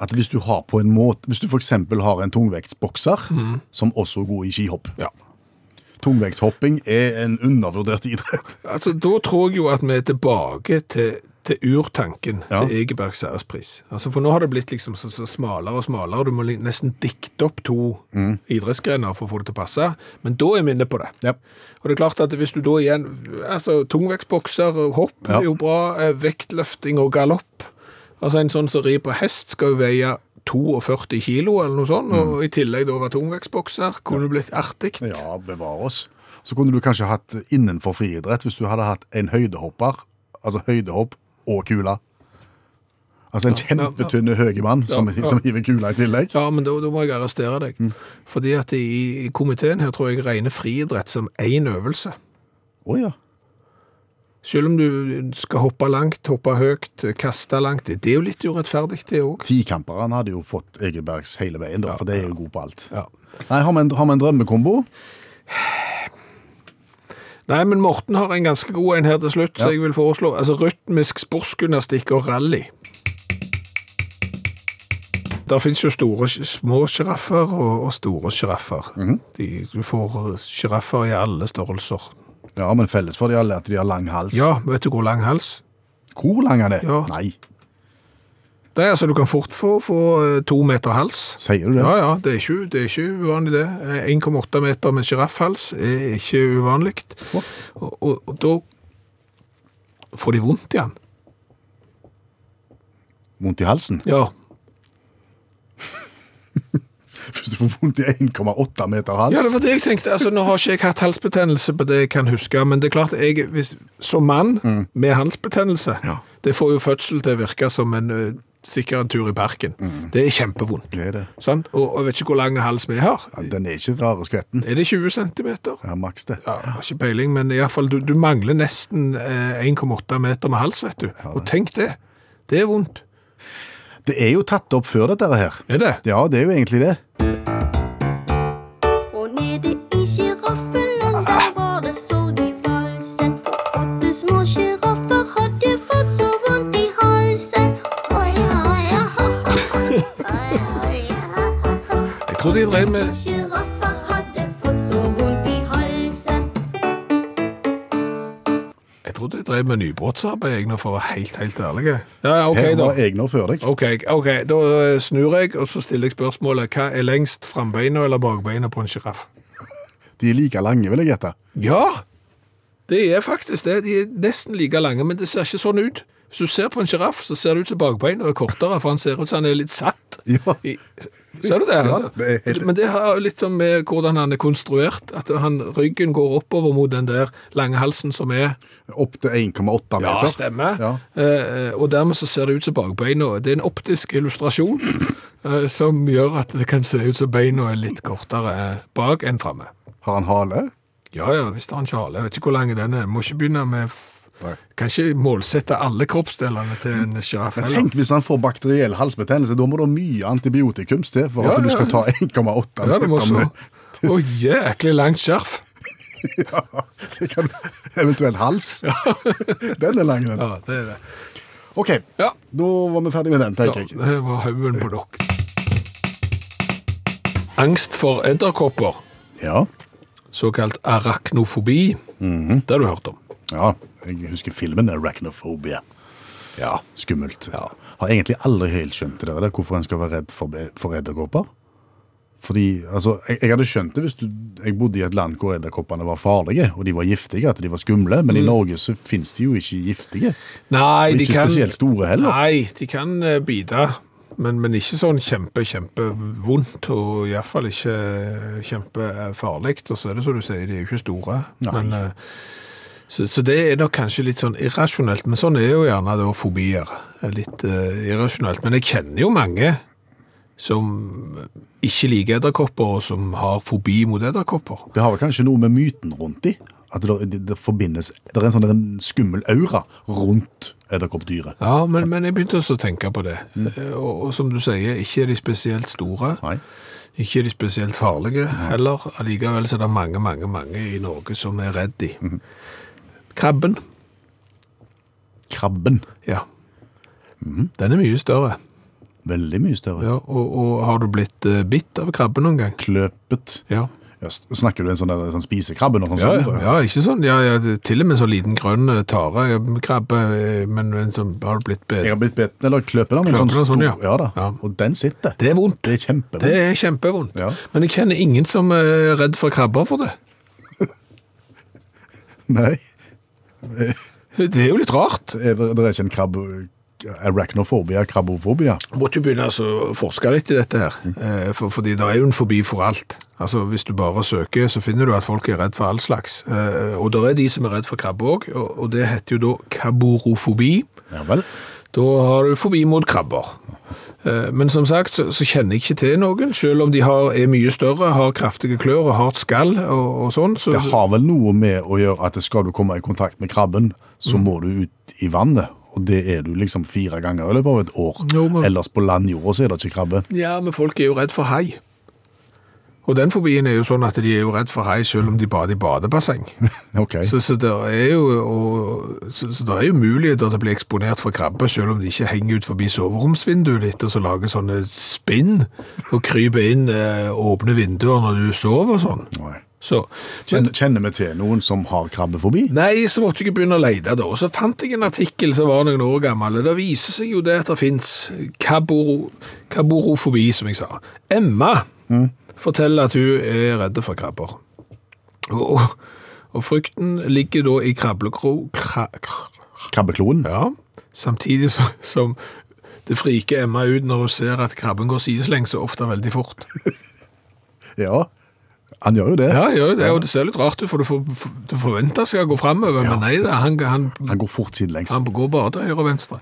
Speaker 3: At hvis du har på en måte, hvis du f.eks. har en tungvektsbokser som også er god i skihopp
Speaker 6: Ja.
Speaker 3: Tungvektshopping er en undervurdert idrett.
Speaker 6: Altså, Da tror jeg jo at vi er tilbake til, til urtanken
Speaker 3: Ja.
Speaker 6: til Egebergs ærespris. Altså, for nå har det blitt liksom så, så smalere og smalere, og du må li- nesten dikte opp to idrettsgrener for å få det til å passe. Men da er vi inne på det.
Speaker 3: Ja.
Speaker 6: Og det er klart at hvis du da igjen altså Tungvektsbokser, hopp
Speaker 3: Ja.
Speaker 6: er jo bra, eh, vektløfting og galopp. Altså En sånn som rir på hest, skal jo veie 42 kilo eller noe sånt,
Speaker 3: Mm.
Speaker 6: og i tillegg da være tungvektsbokser. Kunne blitt artig.
Speaker 3: Ja, bevare oss. Så kunne du kanskje hatt innenfor friidrett, hvis du hadde hatt en høydehopper, altså høydehopp og kula. Altså en kjempetynne høy mann som,
Speaker 6: Ja, ja.
Speaker 3: som hiver kula i tillegg.
Speaker 6: Ja, men da, da må jeg arrestere deg. Fordi at i, i komiteen her tror jeg regner friidrett som én øvelse.
Speaker 3: Å ja.
Speaker 6: Selv om du skal hoppe langt, hoppe høyt, kaste langt. Det er jo litt urettferdig, det òg.
Speaker 3: Tikamperne hadde jo fått Egebergs hele veien, da, for det er jo god på alt.
Speaker 6: Ja.
Speaker 3: Nei, Har vi en, har vi en drømmekombo?
Speaker 6: Nei, men Morten har en ganske god en her til slutt,
Speaker 3: Ja.
Speaker 6: så jeg vil foreslå altså rytmisk sportsgymnastikk og rally. Der fins jo store, små sjiraffer og, og store sjiraffer.
Speaker 3: Mhm.
Speaker 6: De- Du får eh, sjiraffer i alle størrelser.
Speaker 3: Ja, men felles for de alle er at de har lang hals.
Speaker 6: Ja, vet du hvor lang hals?
Speaker 3: Hvor lang han er?
Speaker 6: Ja.
Speaker 3: Nei,
Speaker 6: Nei, altså Du kan fort få, få eh, to meter hals.
Speaker 3: sier du det?
Speaker 6: Ja, ja, det er ikke, det er ikke uvanlig, det. Eh, 1,8 meter med sjiraffhals er ikke uvanlig.
Speaker 3: Hva?
Speaker 6: Og, og, og da får de vondt igjen.
Speaker 3: Vondt i halsen?
Speaker 6: Ja.
Speaker 3: Hvis du får vondt i 1,8 meter hals.
Speaker 6: Ja, det var det jeg tenkte. Altså, nå har ikke jeg hatt halsbetennelse på det jeg kan huske, men det er klart, jeg, hvis, som mann med halsbetennelse,
Speaker 3: Mm. Ja.
Speaker 6: det får jo fødsel til å virke som en ø, sikker en tur i parken.
Speaker 3: Mm.
Speaker 6: Det er kjempevondt.
Speaker 3: Det er det.
Speaker 6: Sant? Og, og jeg vet ikke hvor lang hals vi har.
Speaker 3: Ja, den er ikke rare skvetten.
Speaker 6: Er det 20 centimeter?
Speaker 3: Ja, maks det.
Speaker 6: Ja, jeg har ikke peiling, men i alle fall, du, du mangler nesten eh, 1,8 meter med hals, vet du. Og tenk det. Det er vondt.
Speaker 3: Det er jo tatt opp før dette her.
Speaker 6: Er det?
Speaker 3: Ja, det er jo egentlig det.
Speaker 7: Og nede i sjiraffeland, der var det sorg i valsen. For åtte små sjiraffer hadde fått så vondt i halsen. Oi, oi, oi, oh, oi, oi, oi.
Speaker 6: Jeg tror de drev med
Speaker 7: Sjiraffer hadde fått så vondt i halsen.
Speaker 6: Jeg trodde jeg drev med nybrottsarbeid, jeg, nå, for å være helt, helt ærlig. Ja, ja, ok,
Speaker 3: Her
Speaker 6: da.
Speaker 3: var Egner før deg.
Speaker 6: Ok, ok, da eh, snur jeg, og så stiller jeg spørsmålet Hva er lengst, frambeina eller bakbeina på en sjiraff?
Speaker 3: De er like lange, vil jeg gjette.
Speaker 6: Ja, det er faktisk det. De er nesten like lange, men det ser ikke sånn ut. Hvis du ser på en sjiraff, så ser det ut som bakbeina er kortere, for han ser ut som han er litt satt.
Speaker 3: Ja.
Speaker 6: I, ser du det? Altså?
Speaker 3: det er helt-
Speaker 6: Men det har jo litt sånn med hvordan han er konstruert, at han, ryggen går oppover mot den der lange halsen som er
Speaker 3: Opp til 1,8 meter.
Speaker 6: Ja, stemmer.
Speaker 3: Ja.
Speaker 6: Eh, eh, og dermed så ser det ut som bakbeina. Det er en optisk illustrasjon eh, som gjør at det kan se ut som beina er litt kortere eh, bak enn framme.
Speaker 3: Har han hale?
Speaker 6: Ja, ja, hvis det er en kjale. Jeg vet ikke hvor lang den er. Må ikke begynne med f
Speaker 3: Nei.
Speaker 6: Kan ikke målsette alle kroppsdelene til en sjiraff.
Speaker 3: Men
Speaker 6: heller.
Speaker 3: tenk hvis han får bakteriell halsbetennelse, da må det mye antibiotikums til for
Speaker 6: Ja,
Speaker 3: at du
Speaker 6: ja.
Speaker 3: skal ta 1,8
Speaker 6: Ja, det må så.
Speaker 3: med-
Speaker 6: Å, jæklig langt skjerf.
Speaker 3: Det kan, eventuell hals. Den er lang, den.
Speaker 6: Ja, det er det.
Speaker 3: OK,
Speaker 6: Ja,
Speaker 3: da var vi ferdig med den,
Speaker 6: ja
Speaker 3: tenker jeg.
Speaker 6: det var haugen på dere. Angst for edderkopper.
Speaker 3: Ja.
Speaker 6: såkalt arachnofobi. Det har du hørt om.
Speaker 3: ja. Jeg husker filmen Arachnophobia.
Speaker 6: Ja.
Speaker 3: Skummelt. Har egentlig aldri helt skjønt det der, hvorfor en skal være redd for, for edderkopper. Fordi, altså, jeg, jeg hadde skjønt det hvis du, jeg bodde i et land hvor edderkoppene var farlige, og de var giftige, at de var skumle, men i Norge så finnes de jo ikke giftige.
Speaker 6: Mm. Nei,
Speaker 3: Og
Speaker 6: de
Speaker 3: ikke
Speaker 6: kan,
Speaker 3: spesielt store heller.
Speaker 6: Nei, de kan eh, bite, men, men ikke sånn kjempe, kjempevondt, og iallfall ikke eh, kjempefarlig. Og så er det som du sier, de er jo ikke store.
Speaker 3: Nei.
Speaker 6: Men, eh, så, så det er nok kanskje litt sånn irrasjonelt, men sånn er jo gjerne da fobier. Er Litt eh, irrasjonelt. Men jeg kjenner jo mange som ikke liker edderkopper, og som har fobi mot edderkopper.
Speaker 3: Det har vel kanskje noe med myten rundt de, at det, det, det forbindes, det er en sånn en skummel aura rundt edderkoppdyret.
Speaker 6: Ja, men, men jeg begynte også å tenke på det. Eh, Og, og som du sier, ikke er de spesielt store.
Speaker 3: Nei.
Speaker 6: Ikke er de spesielt farlige heller. Allikevel så er det mange, mange, mange i Norge som er redd de. Krabben,
Speaker 3: Krabben,
Speaker 6: ja. Den er mye større.
Speaker 3: veldig mye større.
Speaker 6: Ja, og, og har du blitt eh, bitt av krabbe noen gang?
Speaker 3: Kløpet.
Speaker 6: Ja.
Speaker 3: Ja, s- snakker du en sånn, der, sånn spisekrabbe, noe sånt
Speaker 6: Ja,
Speaker 3: store?
Speaker 6: ja, ikke sånn. Ja, ja, det- til og med sånn liten grønn eh, tare, eh, krabbe, eh, men, men så har du blitt
Speaker 3: Jeg
Speaker 6: bitt.
Speaker 3: har blitt bedt, eller kløpet da, men
Speaker 6: Kløpet
Speaker 3: sånn
Speaker 6: da,
Speaker 3: stor,
Speaker 6: sånn,
Speaker 3: ja.
Speaker 6: ja.
Speaker 3: da,
Speaker 6: Ja.
Speaker 3: og den sitter.
Speaker 6: Det er vondt.
Speaker 3: Det er kjempebra.
Speaker 6: Det er kjempevondt.
Speaker 3: Ja.
Speaker 6: Men jeg kjenner ingen som eh, er redd for krabber for det.
Speaker 3: Nei,
Speaker 6: Det er jo litt rart.
Speaker 3: er det, det er ikke en krabb... Arachnofobia, krabbofobia.
Speaker 6: måtte jo begynne altså å forske litt i dette her,
Speaker 3: Mm.
Speaker 6: eh, for, fordi det er jo en fobi for alt. Altså, hvis du bare søker, så finner du at folk er redd for all slags. Eh, og det er de som er redd for krabbe òg, og, og det heter jo da kaborofobi.
Speaker 3: Ja vel.
Speaker 6: Da har du fobi mot krabber. Eh, Men som sagt, så, så kjenner jeg ikke til noen, selv om de har, er mye større, har kraftige klør og hardt skall og, og sånn. Så,
Speaker 3: Det har vel noe med å gjøre at skal du komme i kontakt med krabben, så må du ut i vannet. Og det er du liksom fire ganger i løpet av et år.
Speaker 6: Jo, men-
Speaker 3: Ellers på landjorda så er det ikke krabbe.
Speaker 6: Ja, men folk er jo redd for hai. Og den fobien er jo sånn at de er jo redd for hai selv om de bader i badebasseng.
Speaker 3: Ok.
Speaker 6: Så, så, det er jo, og, så, så det er jo muligheter til å bli eksponert for krabber, selv om de ikke henger ut forbi soveromsvinduet ditt og så lager sånne spinn og kryper inn eh, åpne vinduer når du sover og sånn.
Speaker 3: Nei.
Speaker 6: Så, men,
Speaker 3: Kjenner, kjenner vi til noen som har krabbefobi?
Speaker 6: nei, så måtte jeg begynne å lete da, og så fant jeg en artikkel som var noen år gammel, og det viser seg jo det at det finnes kaboro, kaborofobi, som jeg sa. Emma
Speaker 2: Mm.
Speaker 6: forteller at hun er redde for krabber. Og, og frykten ligger da i krabbekro... Kra, kra,
Speaker 3: Krabbekloen?
Speaker 6: ja, samtidig så, som det friker Emma ut når hun ser at krabben går sideslengs så ofte veldig fort.
Speaker 3: Ja, han gjør jo det.
Speaker 2: Ja, ja, det, er jo- det ser litt rart ut, for du, får, du forventer skal gå framover, men nei, da, han, han,
Speaker 3: Han går fort sidelengs.
Speaker 2: han går bare til høyre og venstre.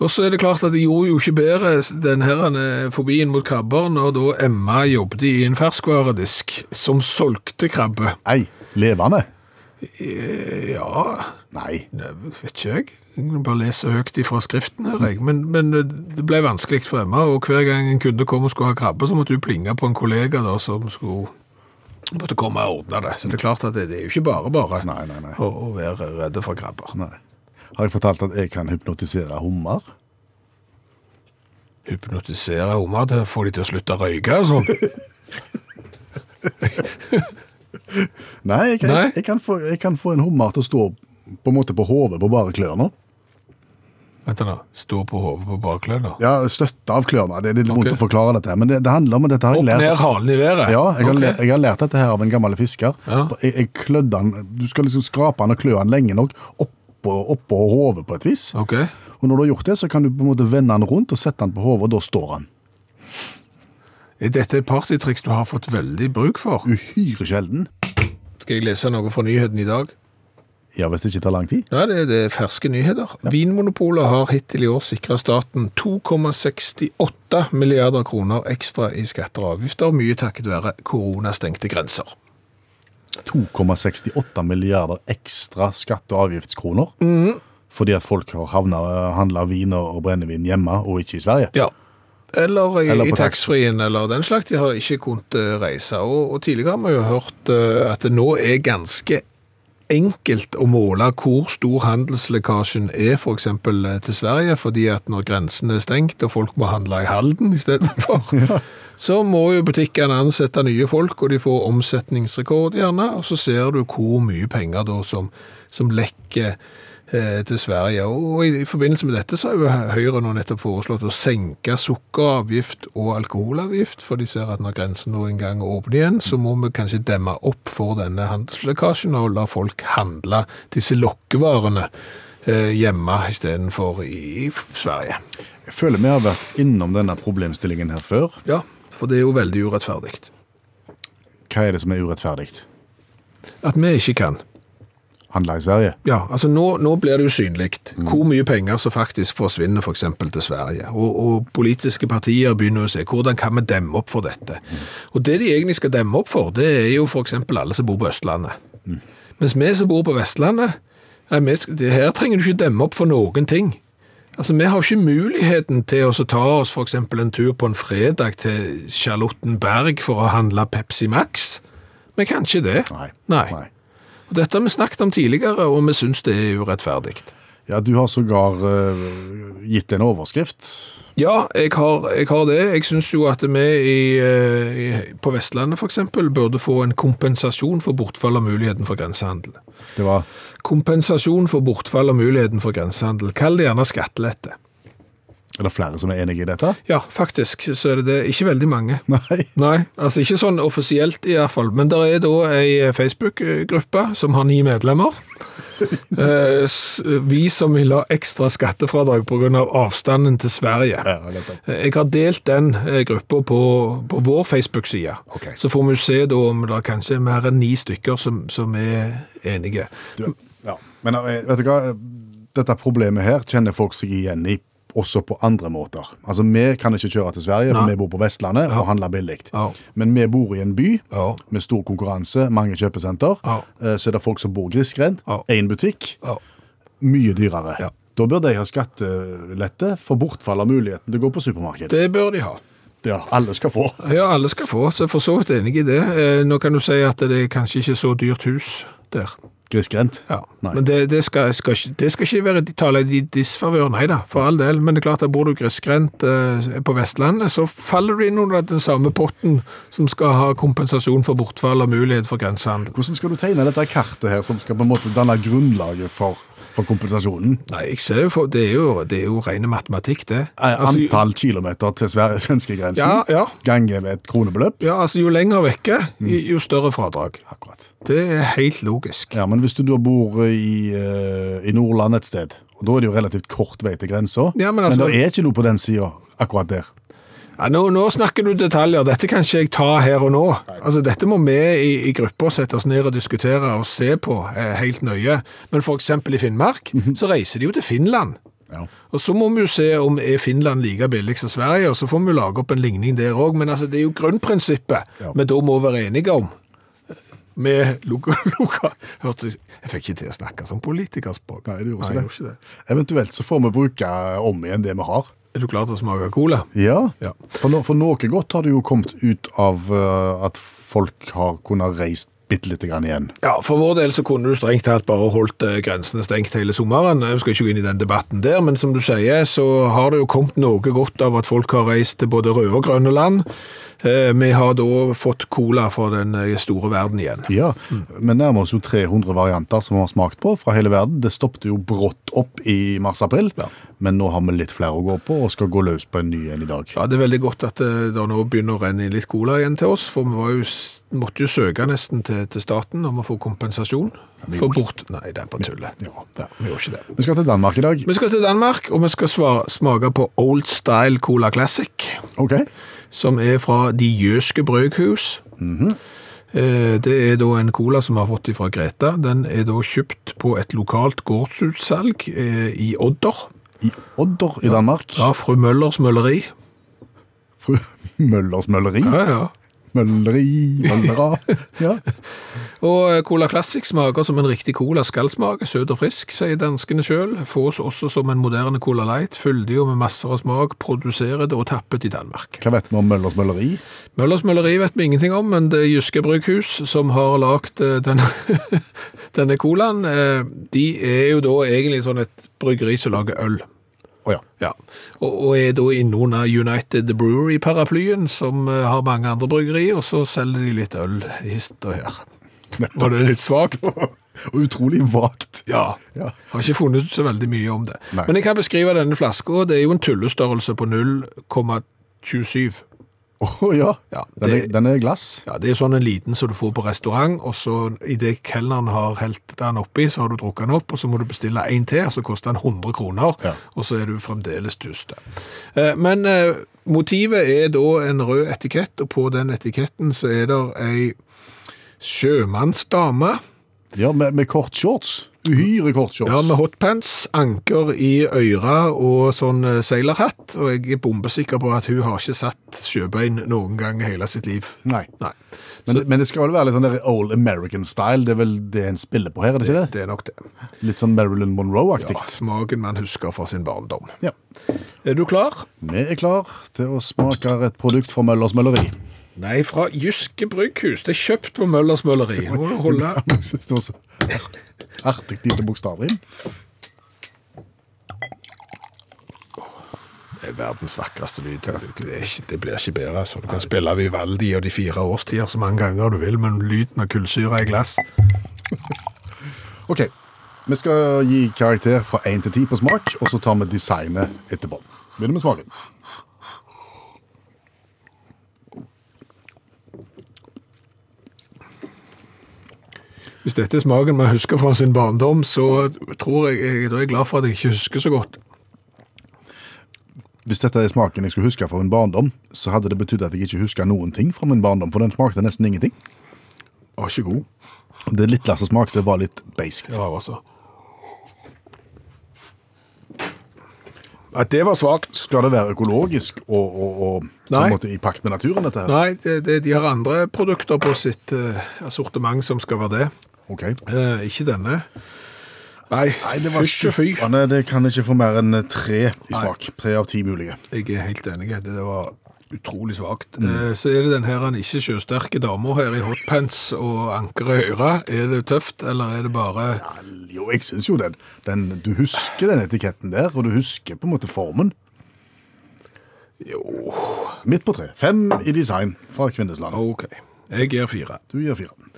Speaker 2: Og så er det klart at de gjorde jo ikke bedre den her eh, fobien mot krabber når da Emma jobbet i en ferskvaredisk som solgte krabbe.
Speaker 3: Nei, levende?
Speaker 2: Ja,
Speaker 3: Nei.
Speaker 2: Nei, vet ikke jeg. Jeg kan bare lese høyt ifra skriften her, jeg. Men, men eh, det ble vanskelig for Emma, og hver gang en kunde kom og skulle ha krabbe, så måtte hun plinge på en kollega da, som skulle måtte komme og ordne det. Så det er klart at det, det er jo ikke bare bare
Speaker 3: Nei, nei, nei.
Speaker 2: Å, å være redde for krabber.
Speaker 3: Nei. Har jeg fortalt at jeg kan hypnotisere hummer?
Speaker 2: Hypnotisere hummer til å få de til å slutte å røyke og sånn.
Speaker 3: Nei, jeg kan,
Speaker 2: Nei.
Speaker 3: Jeg, kan få, jeg kan få en hummer til å stå på en måte på hodet på bare klørne.
Speaker 2: Vent nå. Stå på hodet på bakklønna.
Speaker 3: Ja, støtte av klørne. Det er litt vondt
Speaker 2: Ok.
Speaker 3: å forklare dette, her, men det, det handler om dette har
Speaker 2: Opp
Speaker 3: jeg
Speaker 2: ned
Speaker 3: lært.
Speaker 2: halen i været.
Speaker 3: Ja, jeg har,
Speaker 2: Ok.
Speaker 3: lært, jeg har lært dette her av en gammel fisker.
Speaker 2: Ja.
Speaker 3: Jeg, jeg klødde han, Du skal liksom skrape han og klø han lenge nok oppå, oppå hodet på et vis.
Speaker 2: Ok.
Speaker 3: Og når du har gjort det, så kan du på en måte vende han rundt og sette han på hodet, og da står han.
Speaker 2: Er dette et partytriks du har fått veldig bruk for?
Speaker 3: Uhyre sjelden.
Speaker 2: Skal jeg lese noe fra nyheten i dag?
Speaker 3: Ja, hvis det ikke tar lang tid.
Speaker 2: Nei, det, det er ferske nyheter. Vinmonopolet har hittil i år sikra staten 2,68 milliarder kroner ekstra i skatter og avgifter, mye takket være koronastengte grenser.
Speaker 3: 2,68 milliarder ekstra skatte- og avgiftskroner. Fordi at folk har havnet- eh, handlet vin og brennevin hjemme, og ikke i Sverige.
Speaker 2: Ja. Eller i,
Speaker 3: Eller
Speaker 2: i
Speaker 3: på
Speaker 2: taxfree-en eller den slags. De har ikke kunnet eh, reise. Og, og tidligere har vi jo hørt eh, at det nå er ganske enkelt å måle hvor stor handelslekkasjen er f.eks. til Sverige, fordi at når grensen er stengt og folk må handle i Halden istedenfor, så må jo butikkene ansette nye folk, og de får omsetningsrekord gjerne, og så ser du hvor mye penger da som, som lekker eh, til Sverige. Og i forbindelse med dette så har jo Høyre nå nettopp foreslått å senke sukkeravgift og alkoholavgift, for de ser at når grensen nå en gang åpner igjen, så må vi kanskje demme opp for denne handelslekkasjen og la folk handle disse lokkevarene eh, hjemme istedenfor i Sverige.
Speaker 3: Jeg føler vi har vært innom denne problemstillingen her før.
Speaker 2: Ja, for det er jo veldig urettferdig.
Speaker 3: Hva er det som er urettferdigt?
Speaker 2: At vi ikke kan.
Speaker 3: Handlet i Sverige?
Speaker 2: Ja, altså nå, nå blir det jo synlig hvor mye penger som faktisk forsvinner f.eks. eksempel til Sverige. Og, og politiske partier begynner å se hvordan kan vi demme opp for dette. Og det de egentlig skal demme opp for, det er jo f.eks. alle som bor på Østlandet. Mens vi som bor på Vestlandet, nei, vi, sk- det her trenger du ikke demme opp for noen ting. Altså, Vi har ikke muligheten til å så ta oss for eksempel en tur på en fredag til Charlottenberg for å handle Pepsi Max. Vi kan ikke det.
Speaker 3: Nei.
Speaker 2: Nei. Og Dette har vi snakket om tidligere, og vi syns det er urettferdig.
Speaker 3: Ja, du har sågar eh, gitt en overskrift.
Speaker 2: Ja, jeg har, jeg har det. Jeg syns jo at vi i, eh, i, på Vestlandet f.eks. burde få en kompensasjon for bortfall av muligheten for grensehandel.
Speaker 3: Det var
Speaker 2: Kompensasjon for bortfall av muligheten for grensehandel. Kall det gjerne skattelette.
Speaker 3: Er det flere som er enige i dette?
Speaker 2: Ja, faktisk så er det det. Ikke veldig mange.
Speaker 3: Nei.
Speaker 2: Nei, altså ikke sånn offisielt i hvert fall, men det er da ei Facebook-gruppe som har ni medlemmer. Eh, s- Vi som vil ha ekstra skattefradrag pga. Av avstanden til Sverige.
Speaker 3: Ja, nettopp.
Speaker 2: Eh, Jeg har delt den eh, gruppa på, på vår Facebook-side.
Speaker 3: Ok.
Speaker 2: Så får vi se da om det kanskje er mer enn ni stykker som, som er enige.
Speaker 3: Du, ja. Men eh, vet du hva? Dette problemet her kjenner folk seg igjen i også på andre måter. Altså, Vi kan ikke kjøre til Sverige, for
Speaker 2: Nei.
Speaker 3: vi bor på Vestlandet og handler billig.
Speaker 2: Ja.
Speaker 3: Men vi bor i en by
Speaker 2: Ja.
Speaker 3: med stor konkurranse, mange kjøpesenter.
Speaker 2: Ja.
Speaker 3: Eh, Så er det folk som bor grisgrendt.
Speaker 2: Ja.
Speaker 3: Én butikk,
Speaker 2: Ja.
Speaker 3: mye dyrere.
Speaker 2: Ja.
Speaker 3: Da bør de ha skattelette for bortfall av muligheten til å gå på supermarked.
Speaker 2: Det bør de ha.
Speaker 3: Ja, alle skal få.
Speaker 2: Ja, alle skal få, så jeg er for så vidt enig i det. Eh, Nå kan du si at det er kanskje ikke så dyrt hus der.
Speaker 3: Grisgrendt.
Speaker 2: Ja,
Speaker 3: Nei.
Speaker 2: men det, det, skal, skal, ikke- det skal ikke være de tale i disfavør, nei da, for all del. Men det er klart at bor du grisgrendt eh, på Vestlandet, så faller du inn under den samme potten som skal ha kompensasjon for bortfall og mulighet for grensehandel.
Speaker 3: Hvordan skal du tegne dette kartet her, som skal på en måte danne grunnlaget for, for kompensasjonen?
Speaker 2: Nei, jeg ser jo for, det er jo, det er jo rene matematikk, det.
Speaker 3: Eh,
Speaker 2: Altså, jo-
Speaker 3: Antall kilometer til Sverige- svenskegrensen
Speaker 2: Ja, ja.
Speaker 3: ganger med et kronebeløp.
Speaker 2: ja, altså jo lenger vekke,
Speaker 3: Mm.
Speaker 2: jo- jo større fradrag.
Speaker 3: Akkurat.
Speaker 2: Det er helt logisk.
Speaker 3: Ja, Men hvis du da bor i, eh, i Nordland et sted, og da er det jo relativt kort vei til grensa,
Speaker 2: Ja, men altså-
Speaker 3: det er ikke noe på den sida akkurat der.
Speaker 2: Ja, nå, nå snakker du detaljer. Dette kan ikke jeg ta her og nå. Altså, Dette må vi i, i gruppa sette oss ned og diskutere og se på eh, helt nøye. Men f.eks. i Finnmark så reiser de jo til Finland.
Speaker 3: Ja.
Speaker 2: Og Så må vi jo se om er Finland like billig som Sverige, og så får vi lage opp en ligning der òg. Men altså, det er jo grunnprinsippet
Speaker 3: Ja.
Speaker 2: vi da må være enige om. Med loka, loka. Hørte, jeg- jeg fikk ikke til å snakke som politikerspråk.
Speaker 3: Nei, du gjorde ikke
Speaker 2: jeg
Speaker 3: det.
Speaker 2: gjorde ikke det.
Speaker 3: Eventuelt så får vi bruke eh, om igjen det vi har.
Speaker 2: Er du klar til å smake cola?
Speaker 3: Ja,
Speaker 2: Ja.
Speaker 3: For, no, for noe godt har det jo kommet ut av eh, at folk har kunnet reist bitte lite grann igjen.
Speaker 2: Ja, for vår del så kunne du strengt tatt bare holdt eh, grensene stengt hele sommeren. Jeg skal ikke gå inn i den debatten der, men som du sier, så har det jo kommet noe godt av at folk har reist til både røde og grønne land. Eh, Vi har da fått cola fra den eh, store verden igjen.
Speaker 3: Ja, Vi nærmer oss jo 300 varianter som vi har smakt på fra hele verden. Det stoppet jo brått opp i mars-april, men nå har vi litt flere å gå på og skal gå løs på en ny en i dag.
Speaker 2: Ja, Det er veldig godt at eh, det nå begynner å renne inn litt cola igjen til oss, for vi var jo, s- måtte jo søke nesten til, til staten om å få kompensasjon. for bort... Nei, det er på tullet.
Speaker 3: Ja.
Speaker 2: Ja, vi gjorde ikke det.
Speaker 3: Vi skal til Danmark i dag.
Speaker 2: Vi skal til Danmark, og vi skal svare, smake på Old Style Cola Classic.
Speaker 3: Ok.
Speaker 2: som er fra De Jøske Brøghus. Eh, Det er da en cola som vi har fått fra Greta. Den er da kjøpt på et lokalt gårdsutsalg eh, i Odder.
Speaker 3: I Odder i Danmark.
Speaker 2: Ja, Fru Møllers Mølleri.
Speaker 3: Fru Møllers Mølleri.
Speaker 2: Ja, ja.
Speaker 3: Mølleri, møllera. Ja.
Speaker 2: Og eh, Cola Classic smaker som en riktig cola skal smake, søt og frisk, sier danskene sjøl. Fås også som en moderne Cola Light, fyldig og med masser av smak, produserer det og tappet i Danmark.
Speaker 3: Hva vet vi om Møllers Mølleri?
Speaker 2: Møllers Mølleri vet vi ingenting om, men det er Jyske Brygghus som har lagd eh, denne, denne colaen. eh, De er jo da egentlig sånn et bryggeri som lager øl.
Speaker 3: Å ja.
Speaker 2: Ja. Og, og er da innunder United Brewery-paraplyen, som eh, har mange andre bryggerier, og så selger de litt øl hist og her. Var det litt svakt?
Speaker 3: Utrolig vagt.
Speaker 2: Ja.
Speaker 3: Ja.
Speaker 2: Har ikke funnet ut så veldig mye om det.
Speaker 3: Nei.
Speaker 2: Men jeg kan beskrive denne flaska. Det er jo en tullestørrelse på 0,27.
Speaker 3: Å ja.
Speaker 2: Ja,
Speaker 3: Den, er,
Speaker 2: det-
Speaker 3: den er glass.
Speaker 2: Ja, det er sånn en liten som du får på restaurant, og så i det kellneren har helt den oppi, så har du drukket den opp, og så må du bestille en til, så koster den 100 kroner,
Speaker 3: Ja.
Speaker 2: og så er du fremdeles tuste. Men eh, motivet er da en rød etikett, og på den etiketten så er det en sjømannsdame,
Speaker 3: Ja, med, med kort shorts. Uhyre kort shorts.
Speaker 2: ja, med hotpants, anker i øyra og sånn eh, seilerhatt, og jeg er bombesikker på at hun har ikke satt sjøbein noen gang i hele sitt liv.
Speaker 3: Nei.
Speaker 2: Nei.
Speaker 3: Men, det- men det skal vel være litt sånn der old American style. Det er vel det en spiller på her, er det ikke det?
Speaker 2: Det er nok det.
Speaker 3: Litt sånn Marilyn Monroe-aktig.
Speaker 2: Ja, smaken man husker fra sin barndom.
Speaker 3: Ja.
Speaker 2: Er du klar?
Speaker 3: Vi er klar til å smake et produkt fra Møllers Mølleri.
Speaker 2: Nei, fra Jyske Brygghus. Det er kjøpt på Møllers Mølleri. Må du holde.
Speaker 3: Jeg synes det var så artig lite bokstavrim.
Speaker 2: Det er verdens vakreste lyd. Det, er ikke- det blir ikke bedre. altså. du kan spille Vivaldi og de fire årstider så mange ganger du vil, men lyden av kullsyre i glass
Speaker 3: Ok, vi skal gi karakter fra 1 til 10 på smak, og så tar vi designet etterpå. Begynner med smaken.
Speaker 2: Hvis dette er smaken man husker fra sin barndom, så tror jeg, jeg da er jeg glad for at jeg ikke husker så godt.
Speaker 3: Hvis dette er smaken jeg skulle huske fra min barndom, så hadde det betydd at jeg ikke husker noen ting fra min barndom, for den smakte nesten ingenting.
Speaker 2: Var ikke god.
Speaker 3: Det lille som smakte, var litt beiskt.
Speaker 2: Ja, altså. At det var svakt.
Speaker 3: Skal det være økologisk og, og, og på
Speaker 2: Nei.
Speaker 3: en måte i pakt med naturen, dette her?
Speaker 2: Nei, det, det, de har andre produkter på sitt eh, assortiment som skal være det.
Speaker 3: Ok.
Speaker 2: Eh, ikke denne. Nei,
Speaker 3: Nei, det var
Speaker 2: fysj og fy.
Speaker 3: skuffende. Det kan ikke få mer enn tre i smak. Tre av ti mulige.
Speaker 2: Jeg er helt enig. Det var utrolig svakt. Eh, så er det den her han ikke sjøsterke dama her i hotpants og anker i øra. Er det tøft, eller er det bare
Speaker 3: Ja, Jo, jeg syns jo den, den Du husker den etiketten der, og du husker på en måte formen. Jo Midt på tre. Fem i design fra Kvinnesland.
Speaker 2: OK. Jeg gir fire.
Speaker 3: Du gir fire.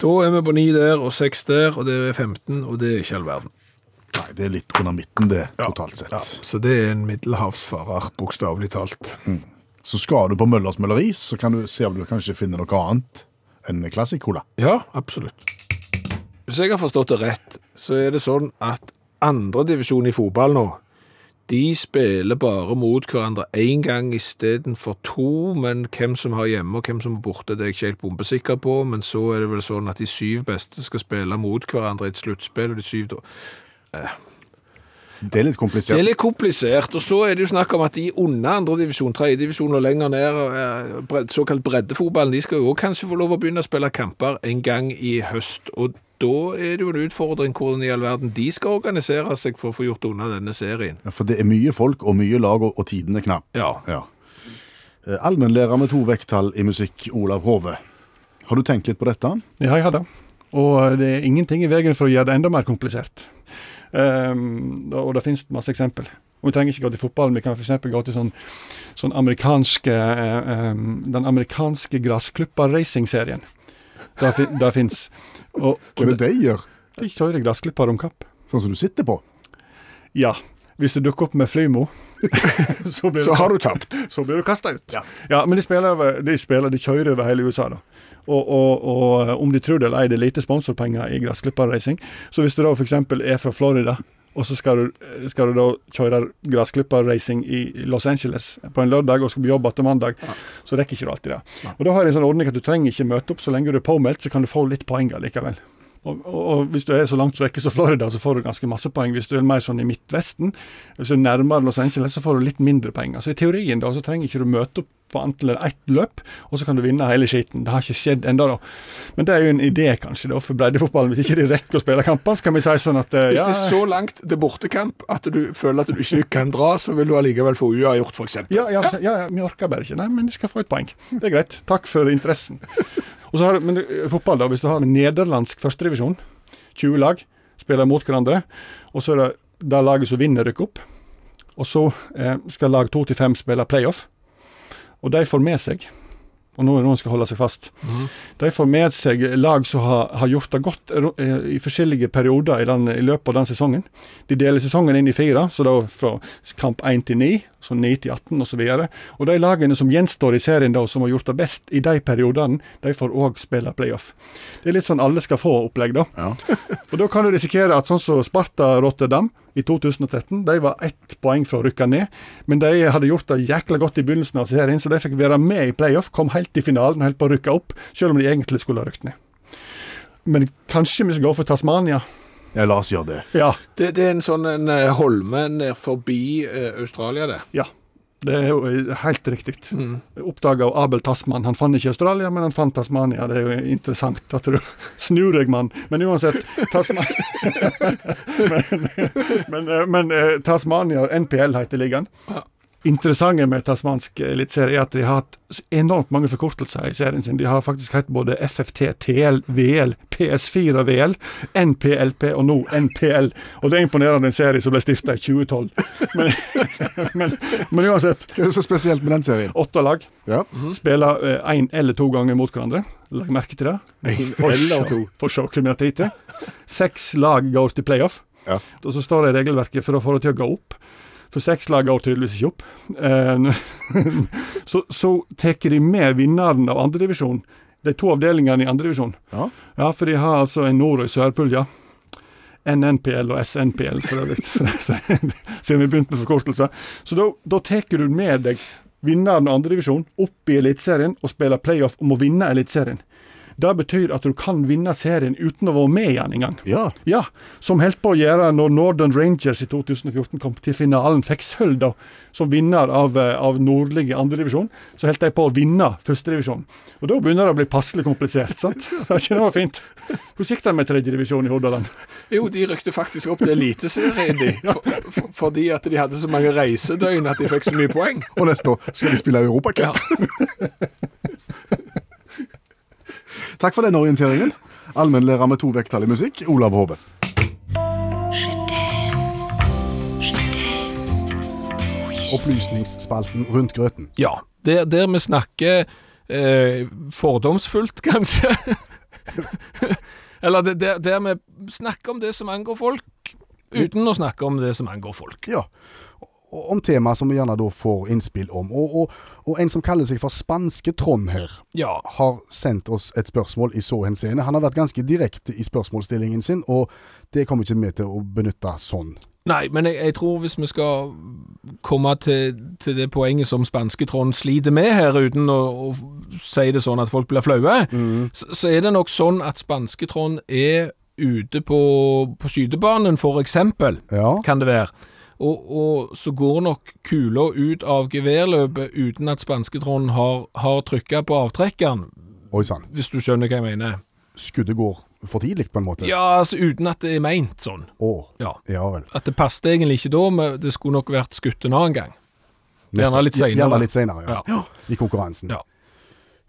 Speaker 2: Da er vi på ni der og seks der, og det er 15, og det er ikke all verden.
Speaker 3: Nei, det er litt under midten, det,
Speaker 2: Ja.
Speaker 3: totalt sett.
Speaker 2: Ja, så det er en middelhavsfarer, bokstavelig talt.
Speaker 3: Så skal du på Møllers Mølleri, så kan du se om du kanskje finner noe annet enn Classic Cola.
Speaker 2: Ja, absolutt. Hvis jeg har forstått det rett, så er det sånn at andredivisjon i fotball nå, De spiller bare mot hverandre én gang istedenfor to, men hvem som har hjemme og hvem som er borte, det er jeg ikke helt bombesikker på. Men så er det vel sånn at de syv beste skal spille mot hverandre i et sluttspill, og de syv da
Speaker 3: Det er litt
Speaker 2: det er
Speaker 3: komplisert.
Speaker 2: litt komplisert. Og så er det jo snakk om at de under andredivisjon, tredjedivisjon og lenger ned, eh, bred- såkalt breddefotballen, de skal jo også kanskje få lov å begynne å spille kamper en gang i høst. og da er det jo en utfordring hvordan i all verden de skal organisere seg for å få gjort unna denne serien.
Speaker 3: Ja, For det er mye folk og mye lag, og, og tiden er knapp.
Speaker 2: Ja.
Speaker 3: Ja. Eh, Allmennlærer med to vekttall i musikk, Olav Hove. Har du tenkt litt på dette?
Speaker 5: Ja, jeg har det. Og det er ingenting i veien for å gjøre det enda mer komplisert. Ehm, og det finnes masse eksempel. Og Vi trenger ikke gå til fotballen, vi kan f.eks. gå til sånn, sånn amerikanske, eh, ehm, den amerikanske gressklippa racing-serien. Det, fin, det fins. Og, og
Speaker 3: Hva er det de gjør?
Speaker 5: de kjører gressklippa om kapp.
Speaker 3: Sånn som du sitter på?
Speaker 5: Ja. Hvis du dukker opp med Flymo, så blir
Speaker 3: Så
Speaker 5: det
Speaker 3: har du tapt.
Speaker 5: så blir du kasta ut. Ja. men de spiller, over, de spiller, de kjører over hele USA, da. Og, og, og eh, om de tror det eller ei, det er lite sponsorpenger i gressklipperracing. Så hvis du da f.eks. er fra Florida, og så skal du, skal du da kjøre gressklipperracing i Los Angeles på en lørdag og skal på jobb igjen mandag, så rekker ikke du alltid det. Og da har jeg en sånn ordning at du trenger ikke møte opp så lenge du er påmeldt, så kan du få litt poeng likevel. Og, og, og hvis du er så langt vekke som Florida, så får du ganske masse poeng. Hvis du er mer sånn i Midtvesten, hvis du er nærmere Los Angeles, så får du litt mindre penger. Så i teorien da, så trenger ikke du møte opp på antall eller ett løp, og så kan du vinne hele skiten. Det har ikke skjedd enda da. Men det er jo en idé, kanskje, da, for breddefotballen. Hvis ikke de rekker å spille kamper, så kan vi si sånn at eh,
Speaker 2: Hvis
Speaker 5: ja,
Speaker 2: det er så langt til bortekamp at du føler at du ikke kan dra, så vil du allikevel få uavgjort, f.eks.
Speaker 5: ja, ja, ja, ja, vi orker bare ikke. Nei, men de skal få et poeng. Det er greit. Takk for interessen. Og så har, du- men eh, fotball, da. Hvis du har en nederlandsk førstedivisjon, 20 lag, spiller mot hverandre, og så er det det laget som vinner, rykker opp. Og så eh, skal lag 2-5 spille playoff. Og de får med seg Og nå er det noen som skal holde seg fast. De får med seg lag som har, har gjort det godt ro- eh, i forskjellige perioder i, den, i løpet av den sesongen. De deler sesongen inn i fire, så da fra kamp 1 til 9, så 9 til 18 osv. Og, og de lagene som gjenstår i serien da, og som har gjort det best i de periodene, de får òg spille playoff. Det er litt sånn alle skal få-opplegg, da. Og da kan du risikere at sånn som Sparta Rotterdam i 2013, de var ett poeng fra å rykke ned. Men de hadde gjort det jækla godt i begynnelsen av serien, så de fikk være med i playoff. Kom helt i finalen og helt på å rykke opp, selv om de egentlig skulle ha rykt ned. Men kanskje vi skal gå for Tasmania?
Speaker 3: Ja, la oss gjøre det.
Speaker 5: Ja.
Speaker 2: Det, det er en sånn en eh, holme ned forbi eh, Australia, det.
Speaker 5: ja. Det er jo eh, helt riktig. Oppdaga av Abel Tasman. Han fant ikke Australia, men han fant Tasmania. Det er jo interessant at du snur deg, mann. Men uansett Tasman... men, eh, men eh, Tasmania, NPL heter ligaen. Interessante med tasmansk eliteserie er at de har hatt s- enormt mange forkortelser i serien sin. De har faktisk hatt både FFT, TL, VL, PS4 VL, NPLP og nå NPL. Og det er imponerende en serie som ble stifta i 2012. Men, men, men uansett,
Speaker 3: Hva er det så spesielt med den serien?
Speaker 5: åtte lag
Speaker 3: Ja.
Speaker 5: spiller én eller to ganger mot hverandre. Legg merke til det. For
Speaker 2: eller
Speaker 5: å-
Speaker 2: to.
Speaker 5: For å se hvem det er til. Seks lag går til playoff.
Speaker 3: Ja.
Speaker 5: Og så står det i regelverket for å få det til å gå opp. For seks lag går tydeligvis ikke opp. Eh, n- så så tar de med vinneren av andredivisjon. De to avdelingene i andredivisjon.
Speaker 3: Ja.
Speaker 5: ja, for de har altså en nord- og en sørpulje. NNPL og SNPL, for øvrig. for å si- Siden vi begynte med forkortelser. Så da, da tar du med deg vinneren av andredivisjon opp i Eliteserien og spiller playoff om å vinne Eliteserien. Det betyr at du kan vinne serien uten å være med igjen engang.
Speaker 3: ja.
Speaker 5: Ja, som holdt på å gjøre når Northern Rangers i 2014 kom til finalen, fikk sølv da, som vinner av, eh, av nordlige andredivisjon. Så holdt de på å vinne førstedivisjon. Og da begynner det å bli passelig komplisert, sant? Det er ikke noe fint. Hvordan gikk det med tredjedivisjon i Hordaland?
Speaker 2: Jo, de rykte faktisk opp til Eliteserien, de. For, for, fordi at de hadde så mange reisedøgn at de fikk så mye poeng.
Speaker 3: Og neste år skal de spille Europacup. Takk for den orienteringen. Allmennlærer med to vekttall i musikk, Olav Hove. Opplysningsspalten rundt grøten.
Speaker 2: Ja. Der, der vi snakker eh, fordomsfullt, kanskje. eller det, der, der vi snakker om det som angår folk, uten å snakke om det som angår folk.
Speaker 3: Ja. Og Om tema som vi gjerne da får innspill om. Og, og, og en som kaller seg for Spanske Trond her,
Speaker 2: Ja.
Speaker 3: har sendt oss et spørsmål i så henseende. Han har vært ganske direkte i spørsmålsstillingen sin, og det kommer ikke vi til å benytte sånn.
Speaker 2: Nei, men jeg, jeg tror hvis vi skal komme til, til det poenget som spanske Trond sliter med her, uten å, å si det sånn at folk blir flaue, så, så er det nok sånn at spanske Trond er ute på, på skytebanen, for eksempel,
Speaker 3: Ja.
Speaker 2: kan det være. Og, og så går nok kula ut av geværløpet uten at spanske Trond har, har trykka på avtrekkeren,
Speaker 3: Oi sann.
Speaker 2: hvis du skjønner hva jeg mener.
Speaker 3: Skuddet går for tidlig, på en måte.
Speaker 2: Ja, altså uten at det er meint sånn.
Speaker 3: Å.
Speaker 2: Ja.
Speaker 3: Ja vel.
Speaker 2: At det passet egentlig ikke da, men det skulle nok vært skutt en annen gang. Gjerne litt senere.
Speaker 3: Gjerne litt senere, ja.
Speaker 2: Ja.
Speaker 3: I konkurransen.
Speaker 2: Ja.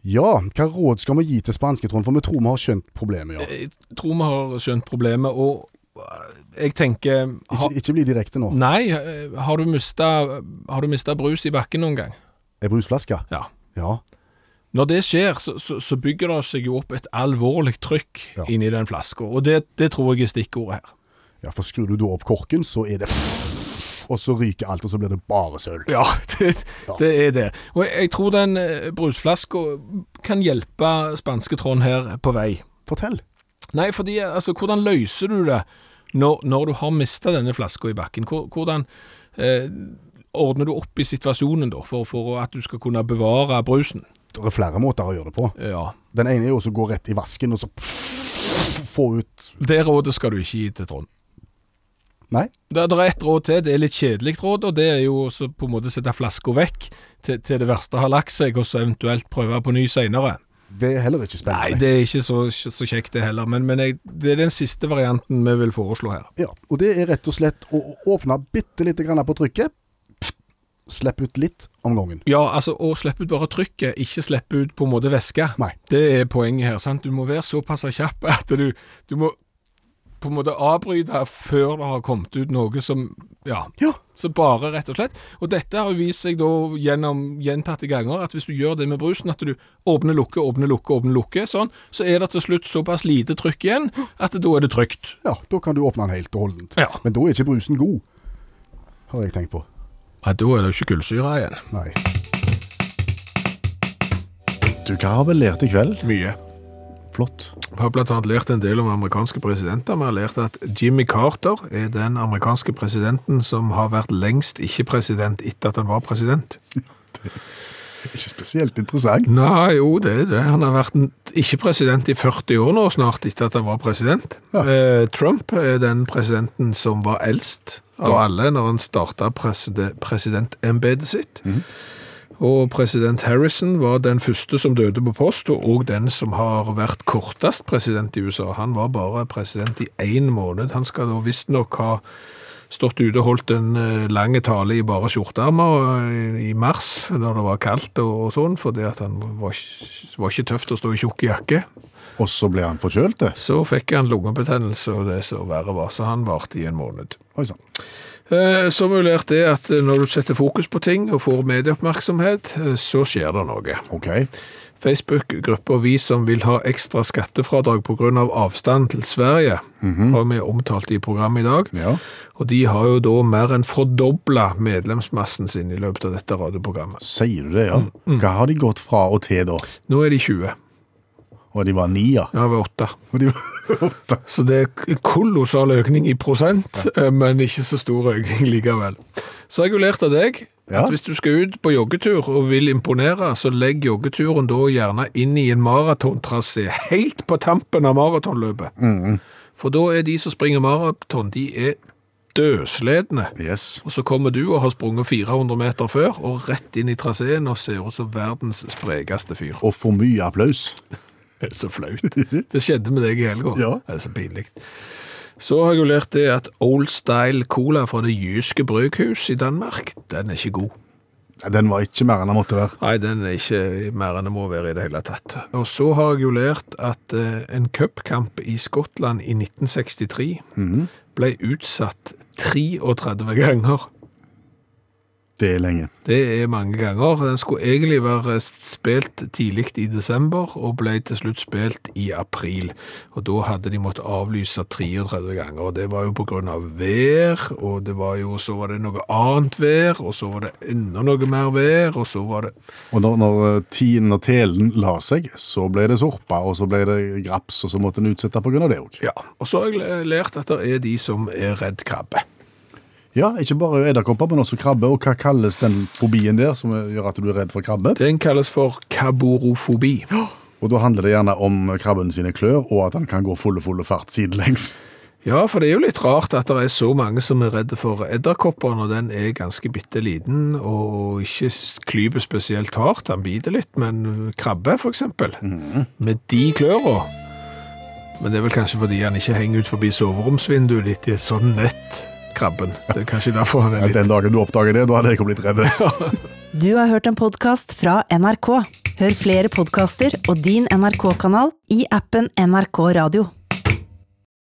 Speaker 3: Ja, hva råd skal vi gi til spanske, Trond? For vi tror vi har skjønt problemet, ja.
Speaker 2: Jeg tror vi har skjønt problemet, og øh, jeg tenker ha,
Speaker 3: Ikke, ikke bli direkte nå.
Speaker 2: Nei, øh, har du mista Har du mista brus i bakken noen gang?
Speaker 3: Er brusflaska?
Speaker 2: Ja.
Speaker 3: Ja.
Speaker 2: Når det skjer, så, så, så bygger det seg jo opp et alvorlig trykk
Speaker 3: Ja.
Speaker 2: inni den flaska, og det, det tror jeg er stikkordet her.
Speaker 3: Ja, for skrur du da opp korken, så er det Og så ryker alt, og så blir det bare søl.
Speaker 2: Ja, det,
Speaker 3: Ja.
Speaker 2: det er det. Og jeg, jeg tror den øh, brusflaska kan hjelpe spanske Trond her på vei.
Speaker 3: Fortell.
Speaker 2: Nei, fordi altså, hvordan løser du det når, når du har mista denne flaska i bakken? Hvor- Hvordan eh, ordner du opp i situasjonen da, for, for at du skal kunne bevare brusen?
Speaker 3: Det er flere måter å gjøre det på.
Speaker 2: Ja.
Speaker 3: Den ene er jo å gå rett i vasken, og så få ut
Speaker 2: Det rådet skal du ikke gi til Trond.
Speaker 3: Nei?
Speaker 2: Det det er ett råd til, det er litt kjedelig råd, og det er jo også på en måte sette flaska vekk til, til det verste har lagt seg, og så eventuelt prøve på ny seinere.
Speaker 3: Det er heller ikke
Speaker 2: Nei,
Speaker 3: spennende.
Speaker 2: det er ikke så, så kjekt det heller, men, men jeg, det er den siste varianten vi vil foreslå her.
Speaker 3: Ja, og det er rett og slett å å åpne bitte lite grann på trykket. Slipp ut litt om gangen.
Speaker 2: Ja, altså å slippe ut bare trykket, ikke slippe ut på en måte væske.
Speaker 3: Nei.
Speaker 2: Det er poenget her. sant? Du må være såpass kjapp at du, du må på en måte avbryte før det har kommet ut noe som Ja.
Speaker 3: Ja.
Speaker 2: Så bare, rett og slett. Og dette har jo vist seg da gjennom gjentatte ganger at hvis du gjør det med brusen, at du åpner, lukker, åpner, lukker, åpner, lukker, sånn, så er det til slutt såpass lite trykk igjen at da er det trygt.
Speaker 3: Ja, da kan du åpne den helt og holdent.
Speaker 2: Ja.
Speaker 3: Men da er ikke brusen god, har jeg tenkt på.
Speaker 2: Ja, da er det jo ikke kullsyre igjen.
Speaker 3: Nei. Du, hva har vi lært i kveld?
Speaker 2: Mye.
Speaker 3: Flott.
Speaker 2: Vi har blant annet lært en del om amerikanske presidenter. Vi har lært at Jimmy Carter er den amerikanske presidenten som har vært lengst ikke president etter at han var president.
Speaker 3: Ikke spesielt interessant.
Speaker 2: Nei, jo, det er det. Han har vært en- ikke president i 40 år nå, snart etter at han var president.
Speaker 3: Ja.
Speaker 2: Eh, Trump er den presidenten som var eldst av alle når han starta preside- presidentembetet sitt. Og president Harrison var den første som døde på post, og også den som har vært kortest president i USA. Han var bare president i én måned. Han skal da visstnok ha stått ute og holdt en eh, lang tale i bare skjortearmer eh, i mars, da det var kaldt og, og sånn, fordi at han var, ikke- var ikke tøft å stå i tjukk jakke.
Speaker 3: Og så ble han forkjølt, det.
Speaker 2: Så fikk han lungebetennelse og det som verre var, så han varte i en måned.
Speaker 3: Oi sånn. sann.
Speaker 2: Eh, Så har vi lært det at eh, når du setter fokus på ting og får medieoppmerksomhet, eh, så skjer det noe.
Speaker 3: OK.
Speaker 2: Facebook-gruppa Vi som vil ha ekstra skattefradrag pga. Av avstand til Sverige, har vi omtalt i programmet i dag.
Speaker 3: Ja.
Speaker 2: Og de har jo da mer enn fordobla medlemsmassen sin i løpet av dette radioprogrammet.
Speaker 3: Sier du det, ja? Hva har de gått fra og til da?
Speaker 2: Nå er de 20.
Speaker 3: Og de var ni, ja.
Speaker 2: Ja, vi er 8.
Speaker 3: Og de var åtte.
Speaker 2: Så det er kolossal økning i prosent, eh, men ikke så stor økning likevel. Så har jeg jo lært av deg
Speaker 3: Ja.
Speaker 2: at hvis du skal ut på joggetur og vil imponere, så legg joggeturen da gjerne inn i en maratontrasé, helt på tampen av maratonløpet. For da er de som springer maraton, de er dødsledende.
Speaker 3: Yes.
Speaker 2: Og så kommer du og har sprunget 400 meter før, og rett inn i traseen og ser ut som verdens sprekeste fyr.
Speaker 3: Og for mye applaus.
Speaker 2: Det er så flaut. Det skjedde med deg i helga.
Speaker 3: Ja.
Speaker 2: Det er så pinlig. Så har jeg jo lært det at Old Style Cola fra det jyske bryghus i Danmark, den er ikke god.
Speaker 3: Den var ikke mer enn den måtte være.
Speaker 2: Nei, den er ikke mer enn det må være i det hele tatt. Og så har jeg jo lært at eh, en cupkamp i Skottland i 1963 ble utsatt 33 ganger.
Speaker 3: Det er lenge.
Speaker 2: Det er mange ganger. Den skulle egentlig være spilt tidlig i desember, og ble til slutt spilt i april. Og da hadde de måttet avlyse 33 ganger. og Det var jo på grunn av vær, og det var jo, så var det noe annet vær, og så var det enda noe mer vær, og så var det
Speaker 3: Og når, når eh, tiden og telen la seg, så ble det sorpa, og så ble det graps, og så måtte en utsette pga. det òg.
Speaker 2: Ja. Og så har jeg lært at det er de som er redd krabbe.
Speaker 3: Ja, ikke bare edderkopper, men også krabbe. Og hva kalles den fobien der som gjør at du er redd for krabbe?
Speaker 6: Den kalles for kaborofobi.
Speaker 3: Og da handler det gjerne om krabben sine klør, og at han kan gå fulle, fulle fart sidelengs.
Speaker 6: Ja, for det er jo litt rart at det er så mange som er redde for edderkopper når den er ganske bitte liten og ikke s- klyper spesielt hardt. Den biter litt, men krabbe for eksempel,
Speaker 3: Mhm.
Speaker 6: med de klørene. Men det er vel kanskje fordi han ikke henger ut forbi soveromsvinduet ditt i et sånn nett, krabben. Det er kanskje derfor han er litt...
Speaker 3: Den dagen du oppdager det, da hadde jeg ikke blitt redd.
Speaker 1: Du har hørt en podkast fra NRK. Hør flere podkaster og din NRK-kanal i appen NRK Radio.